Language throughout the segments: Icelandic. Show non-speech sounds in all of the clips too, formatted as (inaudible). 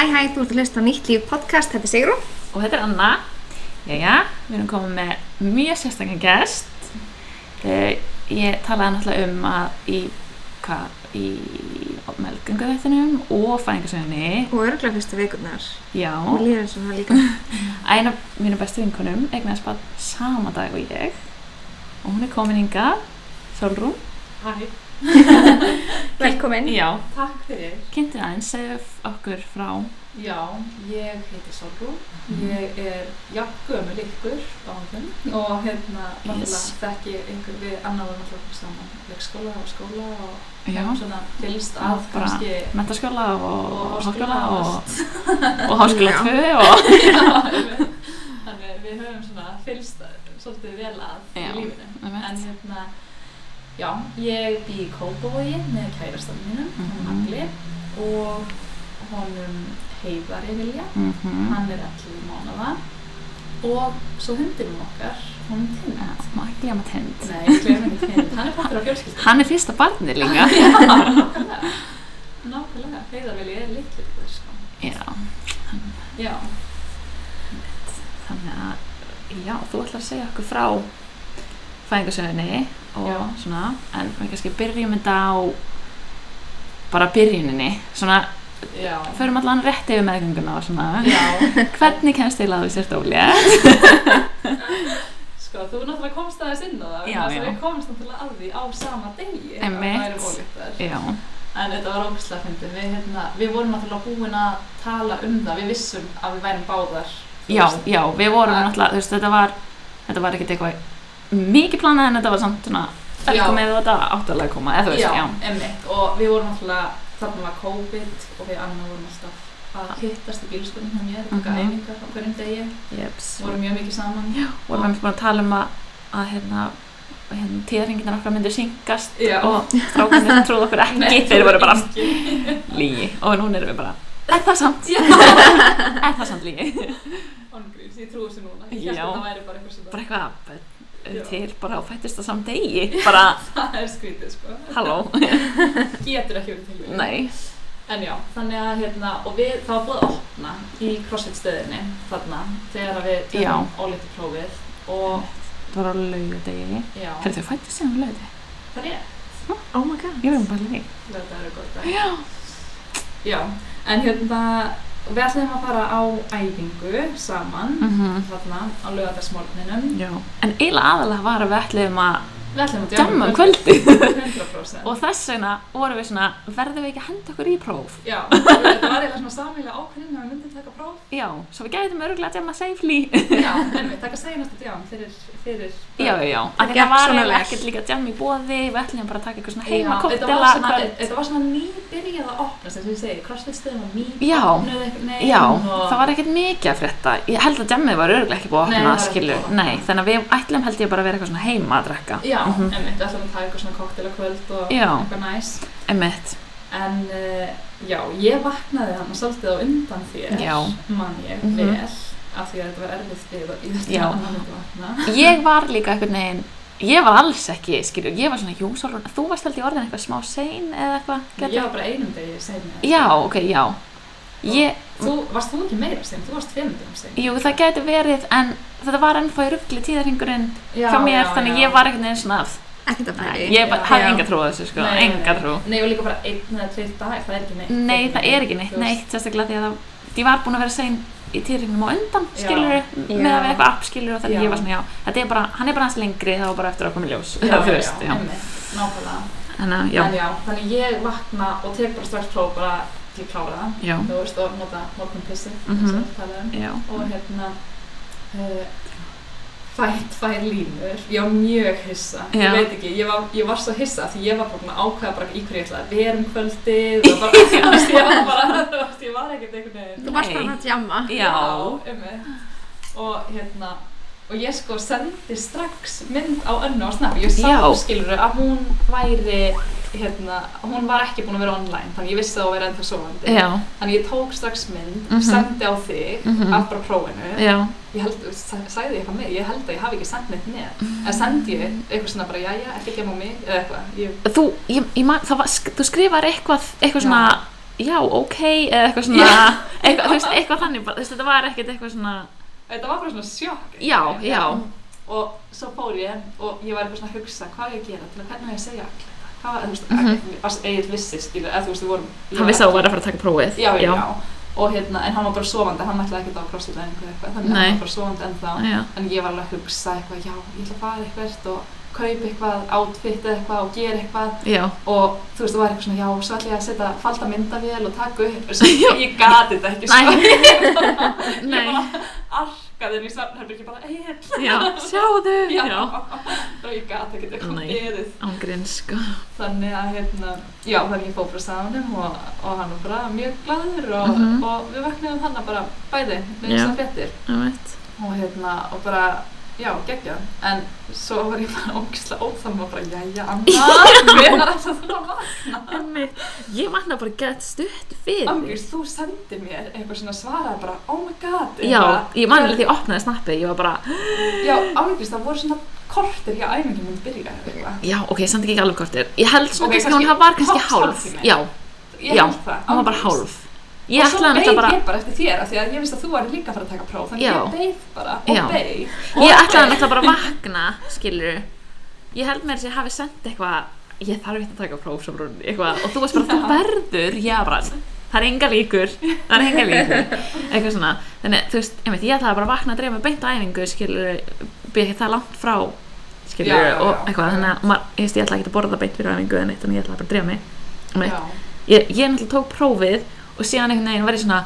Hæ hæ, þú ert að hlusta á nýtt líf podcast, þetta er Sigrún. Og þetta er Anna. Jæja, við erum komin með mjög sérstaklega gest. Eh, Ég talaði náttúrulega um að í, hvað, í melgönguðættinum og fæðingarsöðinni, Og örgulega fyrstu vikurnar. já, Og líður eins og það líka. eina af mínu bestu vinkunum eignaðist bara sama dag og ég og hún er komin hinga, Solrún. Hæ, Velkomin. Já. takk fyrir. Kynntið aðeins, segðu okkur frá. Já, ég heiti Sorgú, ég er jafngömmul ykkur á hann og hérna náttúrulega Yes. þekki ykkur við annar varum alltaf saman leikskóla og skóla og Já. hefum svona fylgst að Bara- kannski (laughs) Mentaskóla og, Og og háskóla háskóla og, og- og háskóla Já. 2 og... þannig að við höfum svona fylgst svolítið vel að Já, í lífinu. einmitt. En hérna, já, ég bý í Kópavogi með kærastanum mínum, mm Mhm. Agli og honum Heiðari Vilja. Mm hann er 11 mánuða og svo hundinum okkar hún Tinna Má ekki glemma tind. Nei, ég glem ekki Tinna, hann er partur á fjölskyldu (laughs) Hann er fyrsta barnið (laughs) líka. Nákvæmlega, nákvæmlega, heiðar vel ég er litlu sko. Já, Já, þannig að já, þú ætlar að segja okkur frá fæðingarsöðinni og Já. svona, en við kannski byrjum þetta á bara byrjuninni, svona já förum allan rétt yfir meðgönguna og svona (laughs) Já, hvernig kemst þið að því sér dóli sko, þú náttúrulega komst aðeins inn á það Já, vegna þess að já. Við komst náttúrulega að því á sama degi að Einmitt. við værum ólíktar. Já, En þetta var ógustlega fyndið við, hérna, við vorum náttúrulega búin að tala um það Við vissum að við værum báðar þú já, veist. já, við vorum Að- náttúrulega, þú veist, þetta var þetta var ekkert eitthvað mikið planað en þetta var samt svona Já. velkomið og þetta áttalega að koma, eða þú veist, já, já, emmitt og við vorum alltaf þarna var COVID og við annar vorum alltaf að hittast í bílskunni hjá mér og Mhm. gæfingar á hverjum degi jeps, vorum mjög mikið saman vorum við búin að tala um að, að hérna, hérna tíðarhinginnar okkar myndu syngast Já. og strákunir trúðu okkur ekki, Nei, þeir voru bara engin. lígi og núna erum við bara Er það samt? Já. Er það samt lígi? Ángríns, ég trúi þessu núna ég Já. held að það væri bara (laughs) eitthvað sem Bara eitthvað börn Já. til bara á fættist það samt degi bara, það er skrítið sko halló, getur ekki verið til nei en já, þannig að hérna og við, það var búið að opna í CrossFit stöðinni þarna þegar að við Já. tökum ólítið prófið og Það var á laugu degi já, Herðu þau fættist síðan á laugu degi? það er ég Oh my god. Ég verðum bara lígi Þetta eru gott dag. Já. en hérna, við ætlum að fara á æfingu saman, mm -hmm. þarna, á lögadagsmorgninum. Já En eiginlega aðalega var að við ætliðum að Við ætlum að jamma um (laughs) kvöldi 100%. og þess vegna vorum við svona verðum við ekki að henda okkur í próf Já, þetta var eiginlega svona samílega ákveðin að við myndum taka próf. Já, svo við gætum öruglega að jamma safely Já, en við taka segjast að jám fyrir, fyrir. Já, já, já. Það Af því gekk Það var svona eiginlega vel. ekkert líka jam í bóði, við ætlum bara að taka eitthvað svona Já, heima þetta koktela var svona, kvöld. þetta var svona nýbyrjað að opna, sem ég segi, crossfit stöðum og Já, nýbyrjað. já, það var ekkert mikið að frétta. Ég held að jammið var öruglega ekki búið að Nei, opna, það var ekki skilu. búið að opna. Nei, þannig að við ætlum held ég bara að vera eitthvað svona heima að drekka. Já, mm Mhm. -hmm. emmitt, við ætlum að taka eitthvað svona koktelakvöld og Já. eitthvað næs. Einmitt. En uh, já, ég vaknaði hann svolítið á undan þér, Já. man ég Mhm. vel, af því að þetta var erfið fyrir og ég þurfti Já. að hann myndi vakna. Ég var líka einhvern veginn, ég var alls ekki, skilu, ég var svona, jú, Solrún, þú varst held ég orðin eitthvað smá sein eða eitthvað. gæti- Ég var bara einum degi segna Já, ok, já. Ég, Þú, varst þú ekki meira segna? Þú varst tveimur degum segna. jú, það gæti verið, en þetta var ennþá í ruggli tíðarhingurinn Já, hjá mér, já, þannig já. ég var einhvern veginn svona að Ekki það Nei, bæði. ég bara- Já. hafði enga trú á þessu sko, enga trú. Nei, og líka bara einn eða tveir dag, það er ekki neitt. Nei, það er ekki Þú neitt, veist, neitt, sérstaklega því að það, ég var búin að vera sein í týringnum á undan, Já. skilur, með að Já. við eitthvað app skilur og þannig Já. ég var svona, já, þetta er bara, hann er bara aðeins lengri, það var bara eftir að koma í ljós, (laughs) Já, þú já, veist, já, já. einmitt, nákvæmlega. Þannig að, já, En já, þannig ég vakna og tek bara strax próf bara til að klára það. já, Þú veist, og nota morgun pissið, Mhm. sem við um. talaðum. já, og hérna uh, fætt fær línur ég var mjög hissa, Já. ég veit ekki ég var, ég var svo hissa því ég var bara búin að ákveða bara í hverju ég ætlaði að vera um kvöldið og bara, (laughs) þú veist, ég var bara þú veist, ég var ekkert einhvern veginn Þú varst Nei. bara að jamma. já, einmitt. og hérna og ég sko sendi strax mynd á önnu á snabbi, ég sá Já. skilur að hún væri hérna, hún var ekki búin að vera online þannig ég vissi að hún væri ennþá sofandi já, þannig ég tók strax mynd, Mhm. sendi á þig Mhm. af bara prófinu já, ég held, sa- sagði ég eitthvað með, ég held að ég hafi ekki sendt neitt með, en sendi ég eitthvað svona bara, jæja, ekki gemma mig, eða eitthvað, ég, þú, ég, ég man, það var, sk- þú skrifar eitthvað, eitthvað svona, já, ok, eða eitthvað svona, eitthvað, þú veist, eitthvað þannig, bara, þú veist, þetta var ekkert eitthvað svona, Þetta var bara svona sjokk. já, já, Og svo fór ég og ég var eitthvað svona að hugsa hvað á ég að gera til að hvernig á ég að segja allir. Hvað var, þú veist, mm Mhm. -hmm. eigin vissi, skilu, eða þú veist, við vorum... hann vissi að þú væri að fara að taka prófið, Já, já, já. Og hérna, en hann var bara sofandi, hann ætlaði ekkert á crossfit eða eitthvað, þannig að Nei. hann var bara sofandi ennþá. já, En ég var alveg að hugsa eitthvað, já, ég ætla að fara eitthvað og kaupa eitthvað, outfit eða eitthvað og gera eitthvað já, og þú veist, það var eitthvað svona, já, svo ætla ég að setja falda myndavél og taka (laughs) upp, svo ég gati þetta ekki, Nei. sko, (laughs) ég bara, Nei. ég bara (laughs) arkaði henni í svefnherbergi bara, eitt, já, sjáðu, já, (laughs) já, (laughs) og ég gati ekkert eitthvað Nei. beðið, ángrín, sko, þannig að, hérna, já, þannig ég fór frá samanum og, og hann var bara mjög gladur og, Mhm. og við vaknaðum hann bara bæði, með Já. þess að fréttir það veit, og hérna, og bara, já, geggja en svo var ég bara ógislega óþamma bara, jæja, (laughs) Anna hvenar ætla þú að vakna? einmitt, ég manna bara gett stutt fyrir, Angus, þú sendir mér eitthvað svona svaraði bara, oh my god já, eitthvað. ég manna því ég opnaði snappið, ég var bara, Já, Angus, það voru svona kortir hjá æfingum minn byrja eitthvað. já, ok, samt ekki alveg kortir, ég held svona, Ok, okay, kannski hún var kannski hálf hálf, tími. já, Ég Já, held það, hún var bara Ángurs. hálf, ég og svo ætlaði beið náttúrulega bara, ég bara eftir þér af því að ég vissi að þú væri líka að fara að taka próf þannig Já. ég beið bara og Já. beið og Ég ætlaði beið. náttúrulega bara að vakna, skilur Ég held mér að ég hafi sendt eitthvað Ég þarf ekki að taka próf sem runni eitthvað Og þú varst bara, þú verður, já bara Það er enga líkur, það er enga líkur Eitthvað svona, þannig þú veist einmitt, Ég ætlaði bara að vakna að dreifa með beint á æfingu Skilur, byrja ekki það langt frá Skilur, Já, já, já. og eitthvað Þannig að maður, ég, veist, ég ætlaði ekki að borða beint fyrir æfingu En eitt, þannig ég ætlaði bara að dreifa mig um eitt Já. ég, ég náttúrulega tók prófið og síðan einhvern veginn var ég svona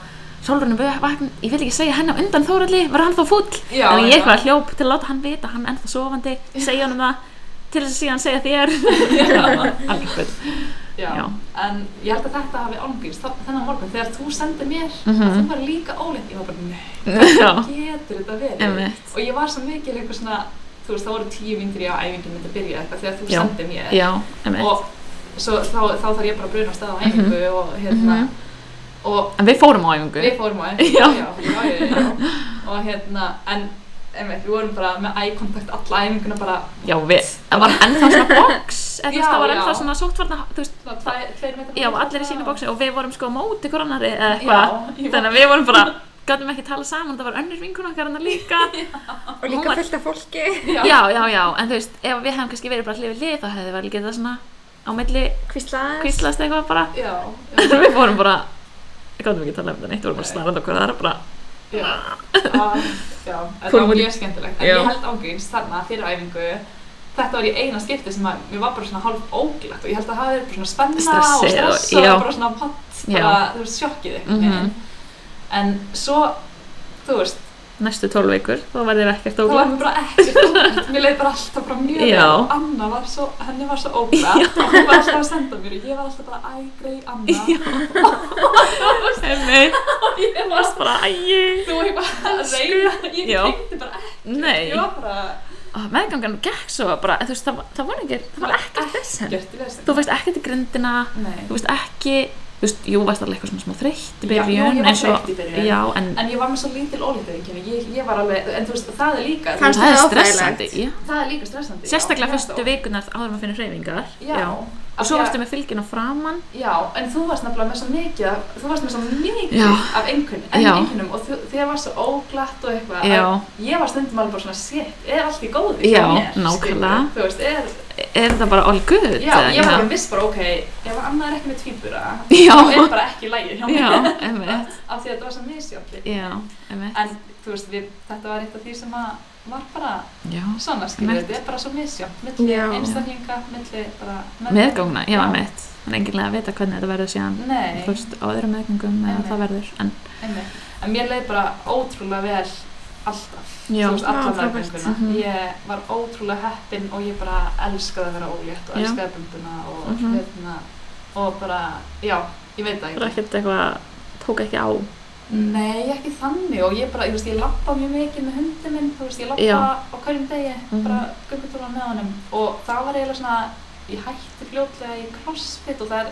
Sólrunum vakn, ég vil ekki segja henni á undan Þóralli, var hann þá fúll? Já, Þannig ég já. eitthvað hljóp til að láta hann vita, hann er ennþá sofandi, segja honum það, til þess að síðan segja (laughs) þér. Alveg full. Já. Já. en ég held að þetta hafi ángýrst þennan morgun þegar þú sendir mér Mhm. að þú var líka óleitt, ég var bara, nei, Já, getur þetta verið? Einmitt. Og ég var svo mikil eitthvað svona, þú veist, það voru tíu myndir ég á æfingum myndi að byrja eitthvað þegar þú Já. sendir mér já, emmitt. og svo þá, þá þarf ég bara að bruna af stað á æfingu og hérna, Mhm. og En við fórum á æfingu. Við fórum á æfingu, Já. já, já, já, já. Og hérna, en einmitt, við vorum bara með eye contact alla æfinguna bara Já, við, það var ennþá svona box, eða þú Já, veist, það var já. ennþá svona sóttvarna, þú veist, svona tve- tveir metrar. já, frá allir í sínu boxi og við vorum sko á móti hver annari eða eitthvað. Já, ég Þannig að við vorum bara, gætum ekki tala saman, það var önnur vinkun okkar hann líka. Og Hún líka var- fullt af fólki. var, já, já, já, já, en þú veist, ef við hefum kannski verið bara hlifið lið þá hefði við alveg getað svona á milli Hvíslaðast. kvíslast eitthvað bara já, en (laughs) við fórum bara, ég gáttum ekki að tala um þetta neitt við vorum bara Nei. snarðan okkur, það er bara já, já, Ah, já, þetta Fórum var út í- mjög skemmtilegt. En Já. ég held ángríns þarna fyrir æfingu, þetta var í eina skipti sem að mér var bara svona hálf óglætt og ég held að það hafi verið bara svona spenna Stressi og og- stress og, já. bara svona patt, Já. bara þú veist sjokkið eitthvað. Mhm. En svo, þú veist, næstu tólf vikur, þá verður ekkert Það var ógla mér bara ekkert ógætt, mér leiði bara alltaf bara mjög Já. vel. Anna var svo, henni var svo ógætt og hún var alltaf að senda mér og ég var alltaf bara æ, grei, Anna (laughs) einmitt, og (laughs) ég var varst bara, æj þú ég bara að reyna, ég Já. tengdi bara ekki, nei, ég var bara og meðgangan gekk svo bara, en þú veist, það, var- það var ekki það var ekkert þess gert í þessu. þú veist ekkert í grindina Nei. þú veist ekki, þú veist, jú, varst alveg eitthvað svona smá þreytt í Já, jú, ég byrjun var eins og- þreytt í byrjun. já, en, En ég var með svo lítil ólítið, ég, ég var alveg, en þú veist, það er líka, Fannst- það er það óþægilegt. stressandi já. það er líka stressandi. Sérstaklega já, fyrstu já, vikunar áður maður finnir hreyfingar. Já. Og svo Af því að- varstu með fylgina framann. Já, en þú varst nefnilega með svo mikið, af- þú varst með svo mikið Já. af einhvern, Já. einhvernum og þú- þér var svo óglatt og eitthvað að Já. ég var stundum alveg bara svona shit, er allt í góði hjá Já, mér?" nákvæmlega. skilur, Þú veist, er, Er þetta bara all good? já, eða? ég var alveg viss bara ok, ef annað er ekki með tvíbura, Já. þá er bara ekki lægið hjá mér Já, emmitt. af því að þetta var svo misjáttið. Já, emmitt. En þú veist, við, þetta var eitt af því sem að var bara Já. svona, skilur, Einmitt. þetta er bara svo misjátt, milli Já. einstaklinga, milli bara Meðgangna, já, Já. emmitt. Það er enginlega að vita hvernig þetta verður síðan. Nei. Þú veist, á öðrum meðgangum eða Einmitt. það verður. En, Einmitt. En mér leið bara ótrúlega vel alltaf, Já. þú veist, alla Já, frábært. dagbunduna. Mhm. Ég var ótrúlega heppin og ég bara elskaði að vera ólétt og Já. elskaði bunduna og Mhm. hérna, og bara, já, ég veit það það er ekki. ekkert Mm. eitthvað, tók ekki á. Nei, ekki þannig og ég bara, ég veist, ég lappa mjög mikið með hundin minn, þú veist, ég lappa Já. á hverjum degi, Mhm. bara göngutúra með honum og það var eiginlega svona, ég hætti fljótlega í crossfit og það er,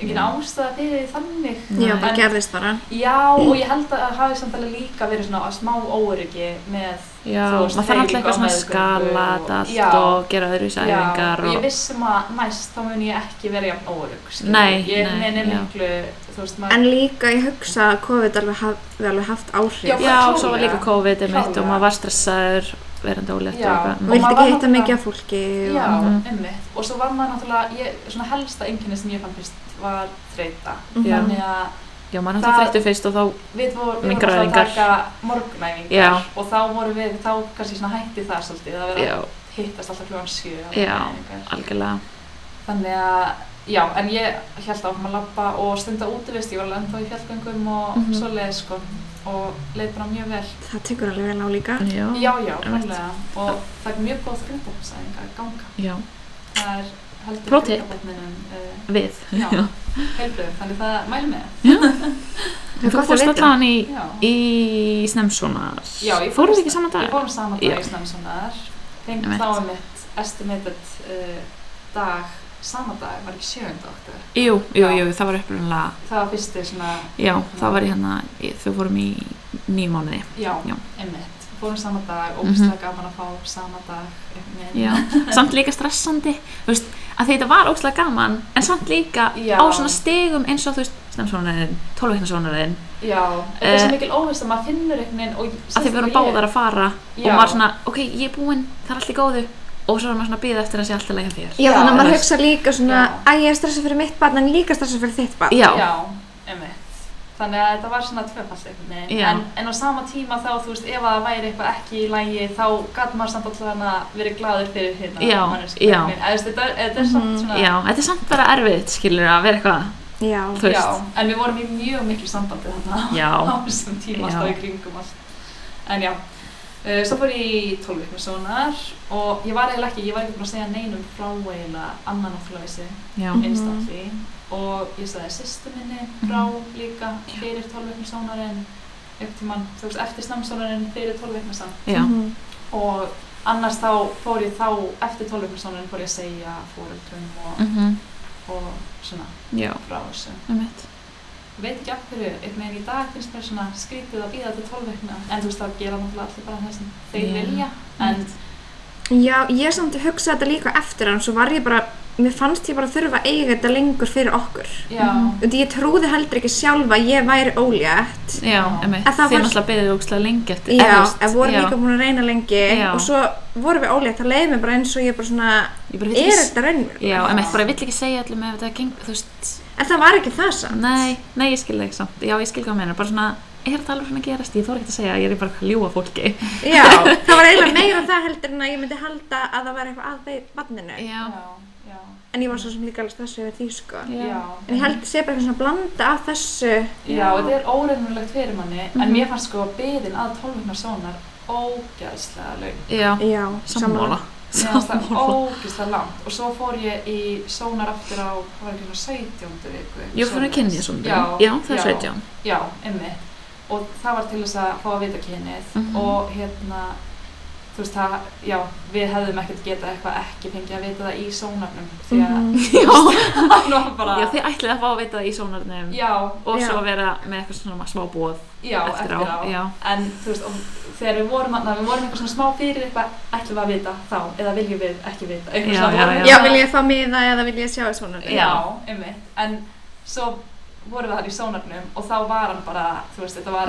engin ástæða fyrir því þannig Já, Nei. bara En- gerðist bara. Já, og ég held að það hafi samt alveg líka verið svona smá óöryggi með Já, þú veist, maður þarf alltaf hreyfingu eitthvað á svona að meðgöngu skala og- þetta allt Já. og gera öðru sæfingar Já, og og... ég vissum að næst þá mun ég ekki vera jafn óörug skilur. Nei, Ég nei, meni já. miklu, þú veist maður En líka ég hugsa að COVID alveg hafi alveg haft áhrif. Já, Já, svo var klárlega. líka COVID mitt og Klárlega. maður var stressaður verandi ólétt Já. og eitthvað. Og Mm. vildi maður var ekki hitta náttúrulega- mikið af fólki. og- Já, Mhm. einmitt. Og svo var maður náttúrulega, ég, svona helsta einkenni sem ég fann fyrst var þreita. Mhm. Já. Þannig að Já, maður náttúrulega Það- þreyttu fyrst og þá, við vorum við vorum alltaf að Minkræðingar. taka morgunæfingar Já. og þá vorum við, þá kannski svona hætti það svolítið að vera já, að hittast alltaf kljóðan sjö. á Já. morgunæfingar. algjörlega. Þannig að, já, en ég held áfram að labba og stunda útivist, ég var alveg ennþá í fjallgöngum og Mhm. svoleiðis sko og leið bara mjög vel. Það tekur alveg vel á líka. Já, Já, já, Ah, einmitt. klálega. Og það er mjög góð grunnbóknsæðing að ganga. já, Það er heldur Pro tip. grunnbókninum uh, við. (laughs) Já. heilbröð, þannig það mælum Það við. er Þú gott að fórst vita. allan í, Já. í Snemsonar. Já, ég fór Fóruð í ekki saman dag? Við fórum saman Já. dag í Snæmsonar, fengum Einmitt. þá um eitt estimated uh, dag, sama dag, var ekki 7. okkur. Jú, jú, Já. jú, það var upplunlega, Það var fyrsti svona, já, það var í hérna, í- þau fórum í nýjum mánuði. já, Já. einmitt. Fórum sama dag, ógislega gaman að fá sama dag, einmitt. Mhm. Já, samt líka stressandi, þú veist, að því þetta var óslega gaman, en samt líka Já. á svona stegum eins og, þú veist, Snemsonarinn, 12 veikna sonarinn, Já, þetta er Eh, svo mikil óvist að maður finnur einhvern veginn og... að þið voru báðar að fara og Já. maður svona, ok, ég er búinn, það er allt í góðu og svo er maður svona að býða eftir að sé allt í lagi hjá þér Já, þannig að maður Já. hugsa líka svona, Já. að ég er stressað fyrir mitt barn en líka stressað fyrir þitt barn. Já, já, Já, einmitt. Þannig að þetta var svona tvöfald einhvern veginn. Já. En, en á sama tíma þá, þú veist, ef að það væri eitthvað ekki í lægi, þá gæti maður samt alltaf hana verið gladur fyrir hérna. Já, manneskjuna, já. einhvern veginn. Eða, þú veist, Þetta, er- þetta er samt Mhm, svona... þetta er samt bara erfitt, skilur að vera eitthvað, Já. þú Já, veist en við vorum í mjög miklu sambandi þarna Já. (laughs) á þessum tíma, Já. alltaf í kringum allt. En já, uh, svo fór ég í 12 vikna sonar og ég var eiginlega ekki, ég var ekki búin að segja neinum frá eiginlega annan náttúrulega Já, Mhm. Mhm. einstakli og ég sagði sýstu minni frá líka fyrir 12 veikna sónarinn upp til mann, þú veist, eftir snamsónarinn fyrir 12 veikna samt já, Mhm. og annars þá fór ég þá eftir 12 veikna sónarinn fór ég að segja fóreldrum og, mhm, og svona já, frá þessu um mitt veit ekki af hverju, einhvern veginn í dag finnst mér svona skrítið að býða til 12 veikna en þú veist, það gera náttúrulega allir bara það sem Já. þeir vilja en Já, ég samt hugsaði þetta líka eftir hann, svo var ég bara, mér fannst ég bara þurfa að eiga þetta lengur fyrir okkur. já, Mhm. Því ég trúði heldur ekki sjálfa að ég væri ólétt. Já, um mitt, En það þið var- náttúrulega byggðið ógstlega lengi eftir eða, Já, þú veist, en vorum já. líka búin að reyna lengi Já. og svo vorum við ólétt, það leiði mér bara eins og ég bara svona, Ég bara vill er ekki, þetta raunverulega? já, um mitt, bara vill ekki segja allum ef þetta geng, þú veist En það var ekki það samt. Nei, nei, ég skil það ekki samt, já, ég skil hvað meina, bara svona Er þetta alveg svona að gerast? Ég þóra ekki að segja, ég er bara að ljúa fólki. (laughs) Já, það var eiginlega meira það heldur en að ég myndi halda að það var eitthvað að banninu. Já, já, já, En ég var svo sem líka alveg stressu yfir því, sko. já. En ég held að sé bara eitthvað svona blanda af þessu. Já, þetta er óreynulegt fyrir manni, en Mhm. mér fannst sko byðin að 12 vikna sónar ógæðslega laung. já, Já, sammála. Mér fannst það Sammála. ógæðslega langt og svo fór ég í sónar aftur á, hvað var ekki svona 17. viku? eitthvað Jú, fyrir svoleiðis. að kynja svona. Já, já, það er (laughs) 17. Já, emmi. Og það var til þess að fá að vita kynið Mhm. og hérna, þú veist það, já, við hefðum ekkert getað eitthvað ekki fengið að vita það í sónarnum því að Mhm. Já, (laughs) það var bara... já, þið ætlið að fá að vita það í sónarnum Já, og Já. svo vera með eitthvað svona smá bóð já, eftir á. Já, en þú veist, og þegar við vorum að, við vorum eitthvað svona smá fyrir eitthvað, ætlum við að vita þá, eða viljum við ekki vita, eitthvað Já, svona já, vorum við Já, svona- vil ég fá miða eða vil ég sjá það svona? Já. já, einmitt, en svo vorum við þar í sónarnum og þá var hann bara, þú veist, þetta var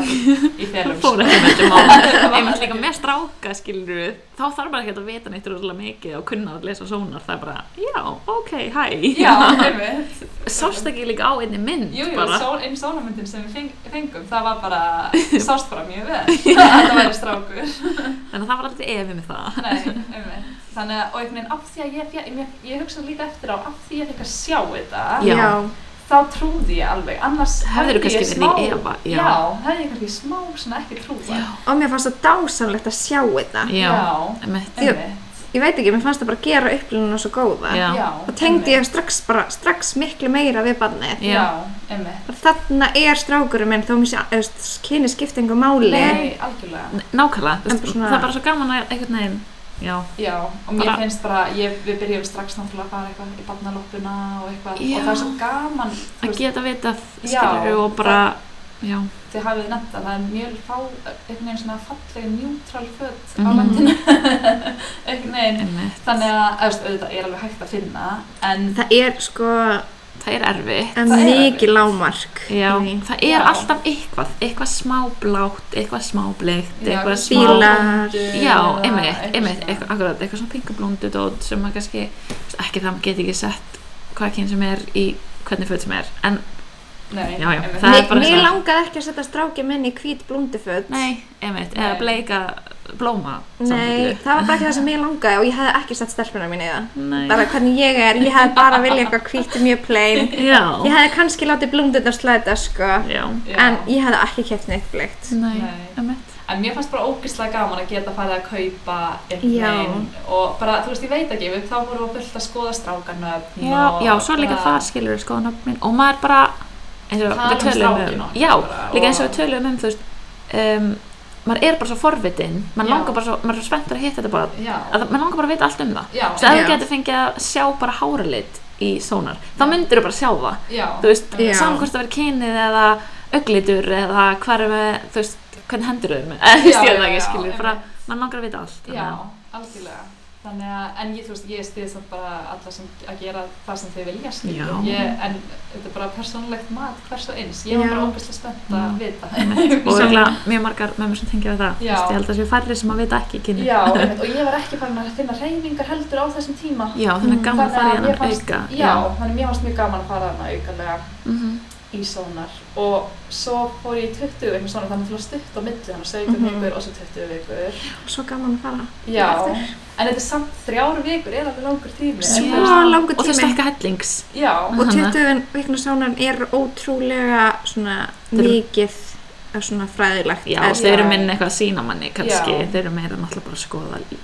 í felum, það sko. (laughs) fór ekki með þetta (laughs) mál. Einmitt líka með stráka, skilur við, þá þarf bara ekki að vita neitt rúðlega mikið og kunna að lesa sónar. Það er bara, já, ok, hæ. já, einmitt, Sást ekki líka á einni mynd jú, jú, bara. só, einu sónarmyndin sem við feng, fengum, það var bara, sást bara mjög (laughs) vel, að það væri strákur. Þannig að það var aldrei efið með það. Nei, einmitt. Þannig að, og einhvern veginn, af því að ég, ég, ég, ég hugsa líka eftir á, af því ég fikk að sjá þetta, Já. Já. þá trúði ég alveg, annars Hefðirðu hefði ég kannski verið í efa, já. já. hefði ég kannski smá svona ekki trúða. Og mér fannst það dásamlegt að sjá þetta. Já, Já. einmitt. einmitt. Ég veit ekki, mér fannst það bara að gera upplununa svo góða. Já. já. Og tengdi ég einmitt. strax bara, strax miklu meira við barnið. Já. Já, einmitt. Þarna er strákurinn minn, þó mér sé, þú veist, kyni skiptingu máli. Nei, algjörlega. Nákvæmlega, þú En veist, bara svona- það er bara svo gaman að einhvern veginn já, Já, og mér Bara- finnst bara, ég, við byrjum strax náttúrulega að fara eitthvað í barnaloppuna og eitthvað Já. og það er svo gaman, að þú veist, geta vitað Já, skilur og bara já, þið hafið nefnt að það er mjög fá, einhvern veginn svona falleg njútrál fött á Mhm. landinu, (laughs) einhvern veginn, einmitt þannig að, þú veist, auðvitað er alveg hægt að finna, en Það er sko það er erfitt en Það er mikið erfitt. lámark já, í því. það er Já. alltaf eitthvað eitthvað smáblátt, eitthvað smábleikt Já, eitthvað smá smá Bílar. blöndu Já, eða einmitt, einmitt, svona. eitthvað, akkurat, eitthvað svona pinkablóndu dót sem maður kannski, ekki það maður geti ekki sett hvað kyn sem er í hvernig föt sem er, en Nei, Já, já, einmitt. það er Mér, bara mér svona- langaði ekki að setja strákið minn í hvít blúnduföld nei, einmitt, eða Nei. bleika blóma Nei, það var bara ekki það sem mér langaði og ég hefði ekki sett stelpuna mín í það nei, bara hvernig ég er, ég hefði bara viljað eitthvað hvít mjög plain Ég já, hefði kannski látið blúndurnar slæta sko já, Já. En ég hefði ekki keft neitt bleikt nei, Nei. einmitt, En mér fannst bara ógislega gaman að geta farið að kaupa Já. einn og bara, þú veist, ég veit ekki, við þá vorum við fullt að skoða strákanöfn já, og já, svo er líka það skilur sko nöfnin og maður bara, eins og Tala við um tölum strákinn um, okkar já, bara líka eins og og- við tölum um, þú veist, um, maður er bara svo forvitinn, maður Já. langar bara svo, maður er svo spenntur að hitta þetta bara, Já, að maður langar bara að vita allt um það. já, Þú veist, ef Já. þú getur fengið að sjá bara háralit í sónar, þá myndir þú bara sjá það. já, Þú veist, Já. saman hvort það verið kynið eða auglitur eða hvað er með, þú veist, hvernig hendur þú með, (laughs) eða þú veist, Já, ég veit það já, ekki, já, skilur, bara, einmitt. mann langar að vita allt. þannig já, að- (laughs) algjörlega. Þannig að, en ég, þú veist, ég stið samt bara alla sem að gera það sem þau vilja, Já. skiljum. Ég, en þetta er bara persónulegt mat hvers og eins. Ég var Já. bara ógislega spennt Já. Mm. að vita. (laughs) Og örgulega mjög margar mömmur sem tengja við það, þú Já. veist, ég held að séu færri sem að vita ekki kynið. (laughs) Já, einmitt, og ég var ekki farin að finna reyningar heldur á þessum tíma. Já, þannig að gaman að fara í Mm, mér hennan fannst- auka. já, þannig að mér fannst mjög gaman að fara þarna aukalega Mhm. í sónar og svo fór ég í 20 vikur sónar þannig til að stutt á milli hann 17 Mhm. vikur og svo 20 vikur Svo gaman að fara já, Aftur. en þetta er samt þrjár vikur er alveg langur tími Svo en þú veist- langur Og þau tími. stekka hellings. já, Og Hana. 20 vikna sánan er ótrúlega svona Þeir eru- mikið af svona fræðilegt Já, eða þau eru Já. minna eitthvað að sína manni kannski, Já. þau eru meira náttúrulega bara að skoða í-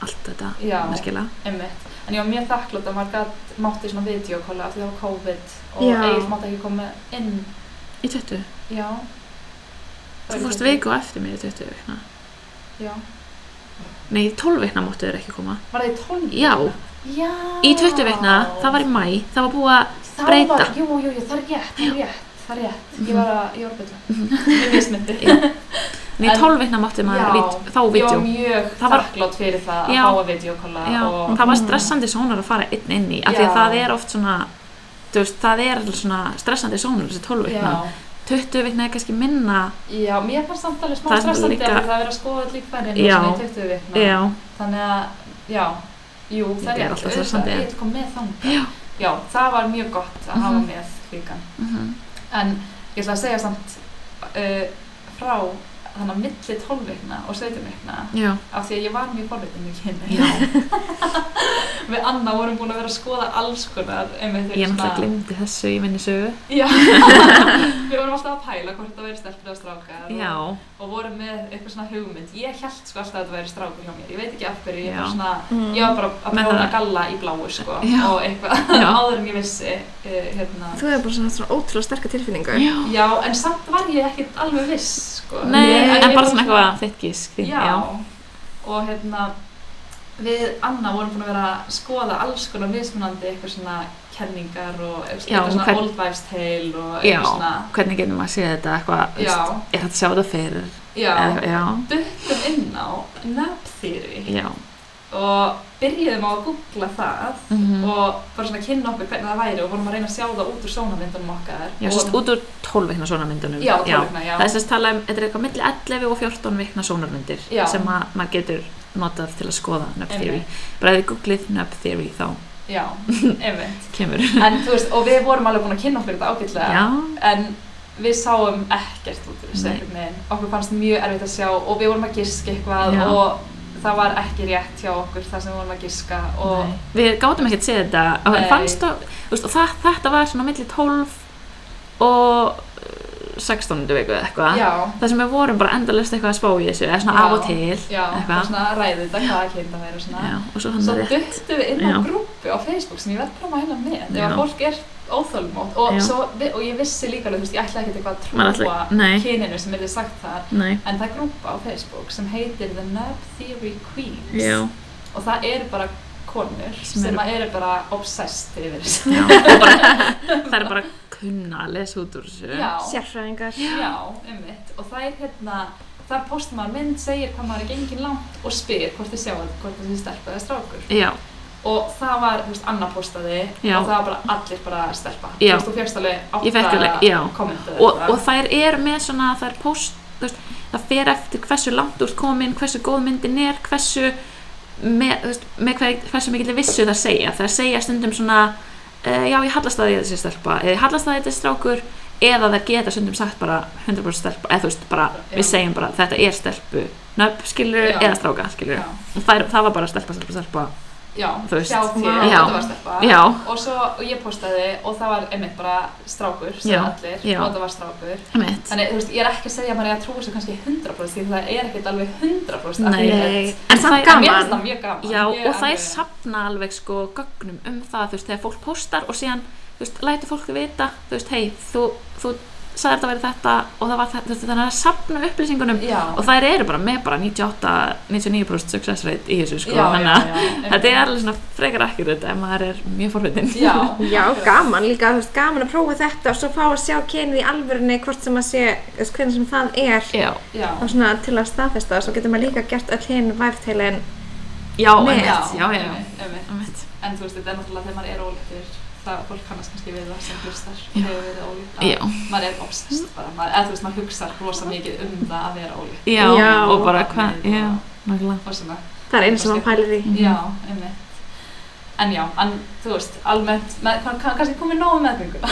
allt þetta, Já. merkilega. einmitt en ég var mjög þakklátt að maður gat mátti svona videokóla af því það var COVID og Já. Egil mátti ekki koma inn Í 20. já Þú fórst viku á eftir mig í 20 vikna. já, Nei, í 12 vikna máttu þér ekki koma. var það í 12 Já, já í 20 vikna, það var í mæ, það var búið að, Þá breyta. var, jú, jú, jú, það er rétt, það er rétt, það er rétt. Ég var að, ég var að byrja. Mér mismyndi. Mhm. Já, nei, í En- 12 vikna máttu maður vít, þá Ég var vídeo. mjög Það var- þakklátt fyrir það Já. að fá að videokolla Já, og það var stressandi sónar að fara einn inn í, af því Já. að það er oft svona, þú veist, það er svona stressandi sónar þessi 12 vikna. Já, 20 vikna er kannski minna, já, mér fannst samt alveg smá Það er stressandi líka- líka... að það er verið að skoða öll líkfærin Já. og svona í 20 vikna. já, Þannig að, já, jú, það Þetta er er rétt, alltaf auðvitað, stressandi. Ég ætti kom með þang. já, Já, það var mjög gott að hafa Mhm. með líka. mhm, En ég ætla að segja samt uh, frá þannig að milli 12 vikna og 17 vikna já, af því að ég var mjög forvitin í kynni já, (laughs) við Anna vorum búin að vera að skoða alls konar einmitt ég náttúrulega glimti þessu í minni sögu. já við vorum alltaf að pæla hvort það væri stelpur eða strákar Já, og, og vorum með eitthvað svona hugmynd ég held sko alltaf að þetta væri strákur hjá mér ég veit ekki af hverju, ég Já. var svona Mm. ég var bara að Með bróna það- galla í bláu sko Já. og eitthvað (laughs) Já. áður en ég vissi uh, hérna Þú hefur bara svona, svona ótrúlega sterka tilfinningu já. já en samt var ég ekkert alveg viss sko Nei, Ég- en bara ég var svona eitthvað þitt gísk. þín, já. og hérna við Anna vorum búin að vera að skoða alls konar mismunandi eitthvað svona kenningar og eitthvað Já, svona hvern- old wives tale Já, og eitthvað svona hvernig getur maður að séð þetta eitthvað, þú Já. veist, er þetta að sjá þetta fyrir? já, Eða- já, duttum inn á nap theory já, og byrjuðum á að googla það Mhm. og bara svona kynna okkur hvernig það væri og vorum að reyna að sjá það út úr sjónamyndunum okkar já, sérst út úr 12 vikna sónarmyndunum. já, tólfna, já. Það er sérst talað um, þetta er eitthvað milli 11 og 14 vikna sónarmyndir Já. sem að maður getur notað til að skoða Nöpp Einmitt. Theory. Bara ef þið googlið Nöpp Theory þá já, (laughs) einmitt kemur. en þú veist, og við vorum alveg búin að kynna okkur þetta ágætlega Já, en við sáum ekkert út úr þessu Nei. einhvern veginn okkur fannst mjög erfitt að sjá og við vorum að giska eitthvað Já. og það var ekki rétt hjá okkur það sem við vorum að giska og Nei. við gátum ekkert séð þetta. Og Nei. fannst þú, þú veist, og það, þetta var svona milli 12 og uh, 16. viku eða eitthvað. já, Það sem við vorum bara endalist eitthvað að spá í þessu, eða svona Já. af og til. já, Eitthvað. og svona ræðið þetta hvaða kynna væri og svona Já, og svo svo hann er rétt. duttum við inn á Já. grúpu á Facebook sem ég verð bara að mæla með ef Já. að fólk er óþólmótt og, Já. svo vi- og ég vissi líka alveg, þú veist, ég ætla ekkert eitthvað að trúa Maður ætla- nei. kyninu sem er sagt þar Nei, en það er grúpa á Facebook sem heitir The Nub Theory Queens já, og það eru bara konur Sem sem, eru- að eru bara obsessed yfir þessu (laughs) Já, það er bara, það er bara að kunna að lesa út úr þessu. já, sérfræðingar (laughs) já, ummitt og það er hérna þar postar maður mynd, segir hvað maður er gengin langt og spyr hvort þið sjá hvort þið stelpa eða strákur Já, og það var, þú veist, Anna postaði Já. og það var bara allir bara stelpa Já. þú veist, þú fjöxt alveg Ég fékk alveg, já. átta kommentu og, og þær er með svona, þær post, þú veist, það fer eftir hversu langt úr komin, hversu góð myndin er, hversu, með, þú veist, með hver, hversu mikill vissu þær segja. Þær segja stundum svona, uh, já, ég hallast að því þessi stelpa, eða ég hallast að því þessi strákur, eða þær geta stundum sagt bara 100% stelpa, eða þú veist, bara, Já. við segjum bara, þetta er stelpu, nöpp, skilur, Já. eða stráka, skilur. já. Og þær, það var bara stelpa, stelpa, stelpa. Já, Þú veist, hjá þér, já. þetta var stelpa Já. og svo og ég postaði og það var einmitt bara strákur sem Já, allir já. og það var strákur Einmitt. þannig þú veist, ég er ekki að segja að maður er að trúa þessu kannski 100% því það er ekkert alveg 100% af Nei. því að- en samt það er- en mér finnst gaman það mjög gaman Já, Ég er og það er alveg- safna alveg sko gögnum um það, þú veist, þegar fólk postar og síðan, þú veist, lætur fólk vita, þú veist, hei, þú, þú sagði þetta verið þetta og það var þetta, þú veist, þannig að safna upplýsingunum já, og þær eru bara með bara 98-99% success rate í þessu, sko, já, þannig já, að já, þetta er alveg svona frekar akkurat en maður er mjög forvitin. já, Já, akkurat. gaman líka, þú veist, gaman að prófa þetta og svo fá að sjá kynið í alvörunni hvort sem að sé, þú veist, hvernig sem það er (laughs) Já, já, og svona til að staðfesta og svo getur maður líka gert öll hinn væfteilin já, Með. einmitt, já, já, já, einmitt, einmitt. einmitt. en þú veist, þetta er náttúrulega þegar maður er ólíktur það fólk kannast kannski við það sem hlustar Já. hefur verið ólíkt að Já, maður er obsessed bara, maður, eða þú veist, maður hugsa rosa mikið um það að vera ólíkt já, Já. og bara hvað, Nei, já, og- nákvæmlega. og svona það er eins og maður pælir í Mhm. Já, einmitt. En já, en, þú veist, almennt, með, kann, kann, kannski komið nóg um með meðgönguna.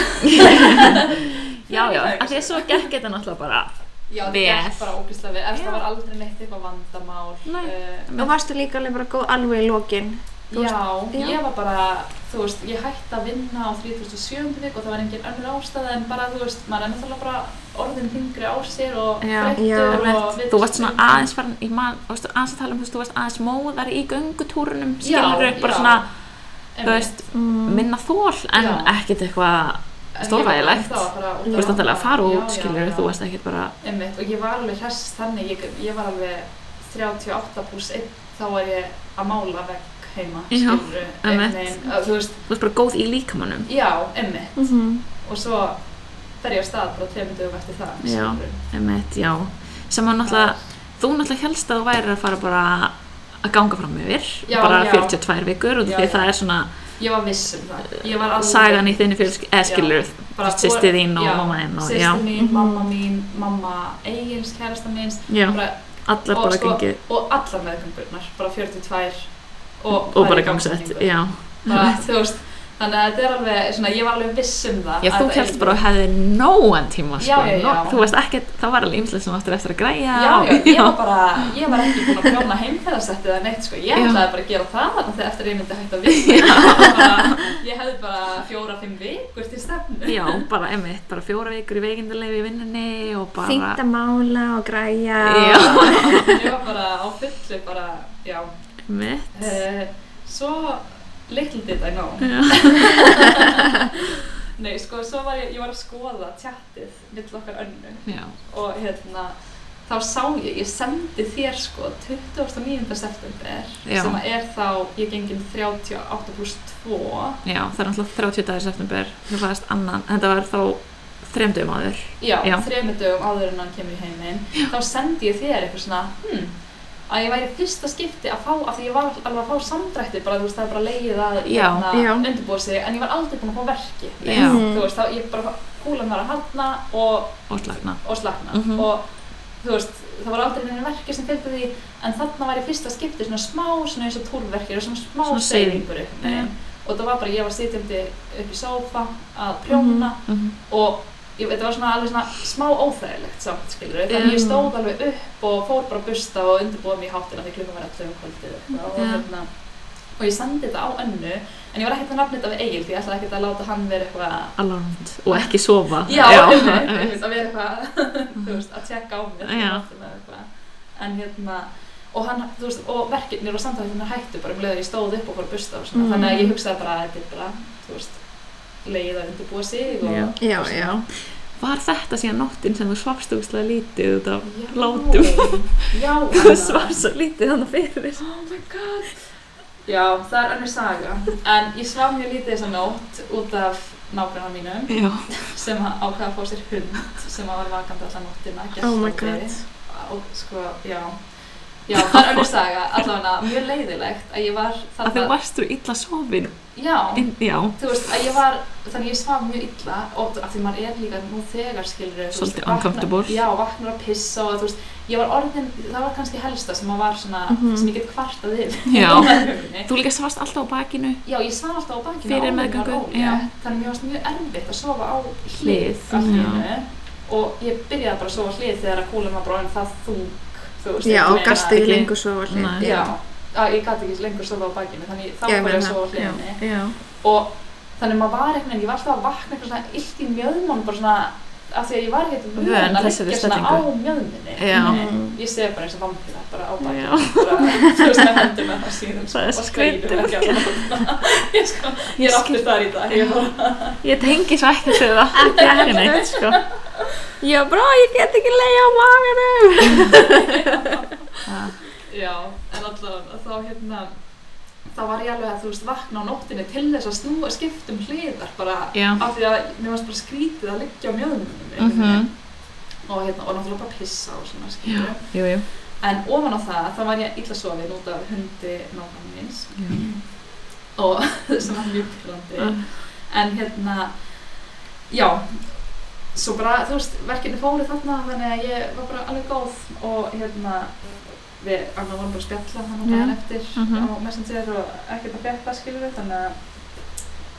(laughs) Já, já, af því að svo gekk þetta náttúrulega bara, (laughs) Já, það Vel. gekk bara ógislega vel. Ef Já. það var aldrei neitt eitthvað vandamál. Nei. eh, og varstu líka alveg bara góð alveg í lokin Þú já, já. ég var bara, þú veist, ég hætti að vinna á 37. vik og það var engin önnur ástæða en bara, þú veist, maður er náttúrulega bara orðin þingri á sér og Já, já, þreyttur og Einmitt. Þú varst svona vitlaus. aðeins farin í mann, þú veist, aðeins að tala um, þú veist, þú varst aðeins móðar í göngutúrunum, Já, skilur upp, bara já, svona, þú einmitt. veist, mm. minna þól, en Já. ekkert eitthvað, En stórvægilegt. ég var ennþá bara út þú á- veist, náttúrulega að fara út, Já, já, skilur, já. þú varst ekkert bara, Einmitt, og ég var alveg hress þannig, ég, ég var alveg 38 pluss 1, þá var ég að mála vekk heima, Já, skilurðu, einhvern einmitt. veginn, að þú veist, þú varst bara góð í líkamannum, já, einmitt, Mm og svo fer ég á stað bara tveimur dögum eftir það, Já. skilurðu. emitt, já, sem að náttúrulega, þú náttúrulega helst að þú væri að fara bara að ganga fram yfir, Já, bara já. 42 vikur, og Já, því já. það er svona Ég var viss um það, ég var alveg, sagan í þinni fjölsk, eða skilur, sýsti þín og mamma þín og, já, sýsti mín, Mhm. mamma mín, mamma eigins, kærasta míns, já, bara, allar og, bara sko, gengið, og allar meðgangurnar, bara 42 og, og bara gangsett, já. bara, þú veist, þannig að þetta er alveg, svona, ég var alveg viss um það Já, að þú þetta kemst yrði- bara og hefði nógan tíma, sko. Já, já, já. Nó- Þú veist ekkert, það var alveg ymslega sem áttur eftir að græja. Já, já, ég var já. bara, ég var ekki búin að prjóna heimferðarsettið eða neitt, sko, ég Já. ætlaði bara að gera það þannig að eftir að ég myndi hægt að vinna, ég hefði bara fjóra-fimm vikur til stefnu. (laughs) Já, bara, einmitt, bara fjóra vikur í veikindulegu í vinnunni og bara... fínt að mála og græja Já, og... (laughs) Ég var bara á fullu, bara, já, einmitt. Eh, svo little did I know. Já. Nei, sko, svo var ég, ég var að skoða tjattið mill okkar önnu Já, og hérna þá sá ég, ég sendi þér sko 29. september Já. sem að er þá, ég gengin 38 pluss 2 já, það er alltaf 30 dagar september, þú fæðast annan, þetta var þá þremdum áður. já, Já. þremur dögum áður en hann kemur í heiminn þá sendi ég þér eitthvað svona hmm, að ég væri fyrsta skipti að fá af því ég var alveg að fá samdrætti bara þú veist það er bara leiðið að hérna, Já, já. undirbúa sig en ég var aldrei búin að fá verki Já. Mhm. þú veist þá ég bara kúlan var að halna og Og slagna. og slagna Mhm. og þú veist, það var aldrei neina verki sem fylgdi því en þarna var ég fyrsta skipti svona smá, svona eins og túrverkir og svona smá Svona seiðing. seilingur upp með Já. þeim. og það var bara, ég var sitjandi upp í sófa að prjóna Mm -hmm. og ég, þetta var svona alveg svona smá óþægilegt samt, skilur við, þannig Já. ég stóð alveg upp og fór bara að busta og undirbúa mig í háttina því klukkan var 11 um kvöldið og, og, Já. hérna, og ég sendi þetta á önnu en ég var ekkert að nafna þetta við Egil því ég ætlaði ekkert að láta hann vera eitthvað Alarmt. Og ekki sofa. Já, einmitt, (laughs) einmitt. einmitt, að vera eitthvað, (laughs) þú veist, að tjekka á mér Mm. Já. eða eitthvað. En hérna, og, hann, þú veist, og verkefnir og samtæðunar hættu bara um leið að ég stóð upp og fór að busta og svona, Mm. þannig að ég hugsaði bara að þetta er bara, þú veist, leið að undirbúa sig og... Já. já, já Var þetta síðan nóttin sem þú svafst úkslega lítið út (laughs) af Já, látum? Já, Þú Anna. svafst svo lítið þannig fyrir. Oh my god. Já, það er önnur saga. En ég svaf mjög lítið þessa nótt út af nágrunna mínum Já. sem að ákvaða að fá sér hund sem að var vakandi alla nóttina. Oh my gestandi. god. Og sko, já. Já, það er önnur saga. Allavega, mjög leiðilegt að ég var Að þú þarna... varst þú illa sofin. Já, Inn, já. þú veist, að ég var... Þannig ég svaf mjög illa og af því maður er líka nú þegar skilur Svolítið uncomfortable. Já, vaknar að pissa og þú veist, ég var orðin... Það var kannski helsta sem að var svona... Mhm. sem ég get kvartað (laughs) yfir. Já. Á meðgöngunni. Þú líka svast alltaf á bakinu. Já, ég svaf alltaf á bakinu Fyrir áður en meðgöngu, ég var ólétt, já. Þannig mér varst mjög erfitt að sofa á Hlið, mhm, hlið allt í já. einu. Og ég byrjaði bara að sofa á hlið þegar að kúlan var bráðin það þung þú veist, Já, einhvern og veginn gastu ekki- ekki lengur svo allir. Nei. að- Já, að ég gæti ekki lengur sofa á bakinu Þannig þá Já, ég fór ég að meina, sofa á já. hliðinni Já. Og þannig maður var einhvern veginn, ég var alltaf að vakna eitthvað svona illt í mjöðmónum bara svona af því að ég var ekkert vön Vön að þessari leggja svona á stellingu. mjöðminni Já. Nei, ég segi bara eins og vampíra bara á Já. bakinu bara, þú veist með hendina á síðan Það er og skreinu skrítið. ekki á (laughs) ég, sko, ég er aftur þar í dag ég bara, Ég tengi svo ekki til það. Ekki ekki neitt, sko. Já, brá, ég get ekki leiði á maganum. Það- já, en allavega þá hérna þá var ég alveg að þú veist vakna á nóttinni til þess að snúa skiptum hliðar bara Já. af því að mér varst bara skrítið að liggja á mjöðmunum Mhm. og hérna og náttúrulega bara pissa og svona skiptum Jú, jú. En ofan á það, þá var ég illa sofin út af hundi nákvæmum minns Já. og (laughs) sem var mjög pyrrandi Ah. en hérna já svo bara, þú veist, verkefni fóru þarna þannig að ég var bara alveg góð og hérna við annar vorum bara að spjalla þannig Já. að hann eftir Mhm. á Messenger og ekkert að fjarta skilur við þannig að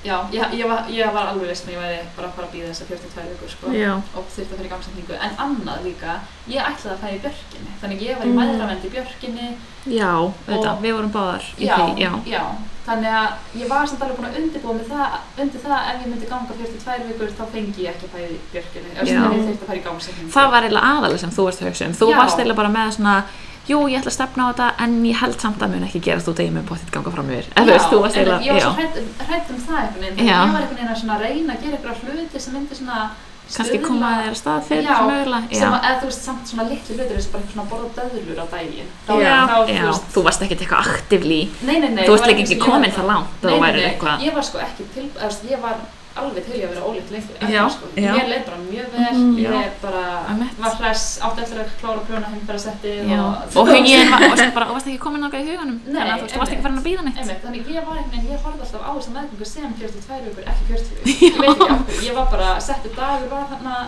já, ég, ég, var, ég var alveg veist með ég væri bara að fara að býða þess að 42 vikur sko Já. og þurfti að fara í gamsetningu en annað líka, ég ætlaði að fara í björkinni þannig ég var í Mm. mæðravend í björkinni Já, Og- auðvitað. Við vorum báðar í já, því. Já. þannig að ég var samt alveg búin að undirbúa með það, undir það ef ég myndi ganga 42 vikur þá fengi ég ekki að fara í björkinni Já. eftir að ég þurfti að fara í gamsetningu Það var eiginlega aðalega sem þú varst að hugsa um. Þú Já. varst eiginlega bara með svona, jú, ég ætla að stefna á þetta, en ég held samt að mun ekki gerast út að ég mun bóttið ganga fram yfir. Ef þú veist, þú varst en eiginlega, ég var svo já. hrædd hrædd um það einhvern veginn, Já. ég var einhvern veginn að svona reyna að gera eitthvað hluti sem myndi svona Kannski stuðla- koma þér að stað fyrir Já, sem mögulega. sem um Já. að, eða þú veist, samt svona litli hlutir eins og bara svona borða döðlur á daginn þá, þá, Já, þú já, veist, þú varst ekkert eitthvað aktivlí Nei, nei, nei. Þú ert það var líka sem ekki hérna. ég var komin að- það langt að Nei, þú nei, værir nei, eitthvað- Ég var sko ekki til, eðast, ég var alveg til ég að vera ólétt lengur. ekki, Já, sko. já. Mm, Mér leið bara mjög vel, Mhm. ég Já. bara Einmitt. var hress, átti eftir að klára prjóna heimferðarsettið Já. og... og hugin var, og sem bara, og varst ekki komin náttúrulega í huganum Nei, þannig að þú veist, þú varst ekki farin að býða neitt Einmitt, þannig ég var einhvern veginn, ég horfði alltaf á þess að meðgöngu sem 42 vikur, ekki (laughs) 40 vikur. Ég veit ekki okkur, ég var bara, settu dagur var þarna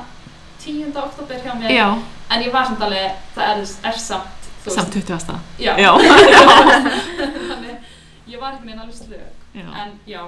10. oktober hjá mér, Já, en ég var samt alveg, það er, er samt, þú veist- samt 20 ásta Já, Já, þannig ég var einhvern veginn alveg slög. já, En já,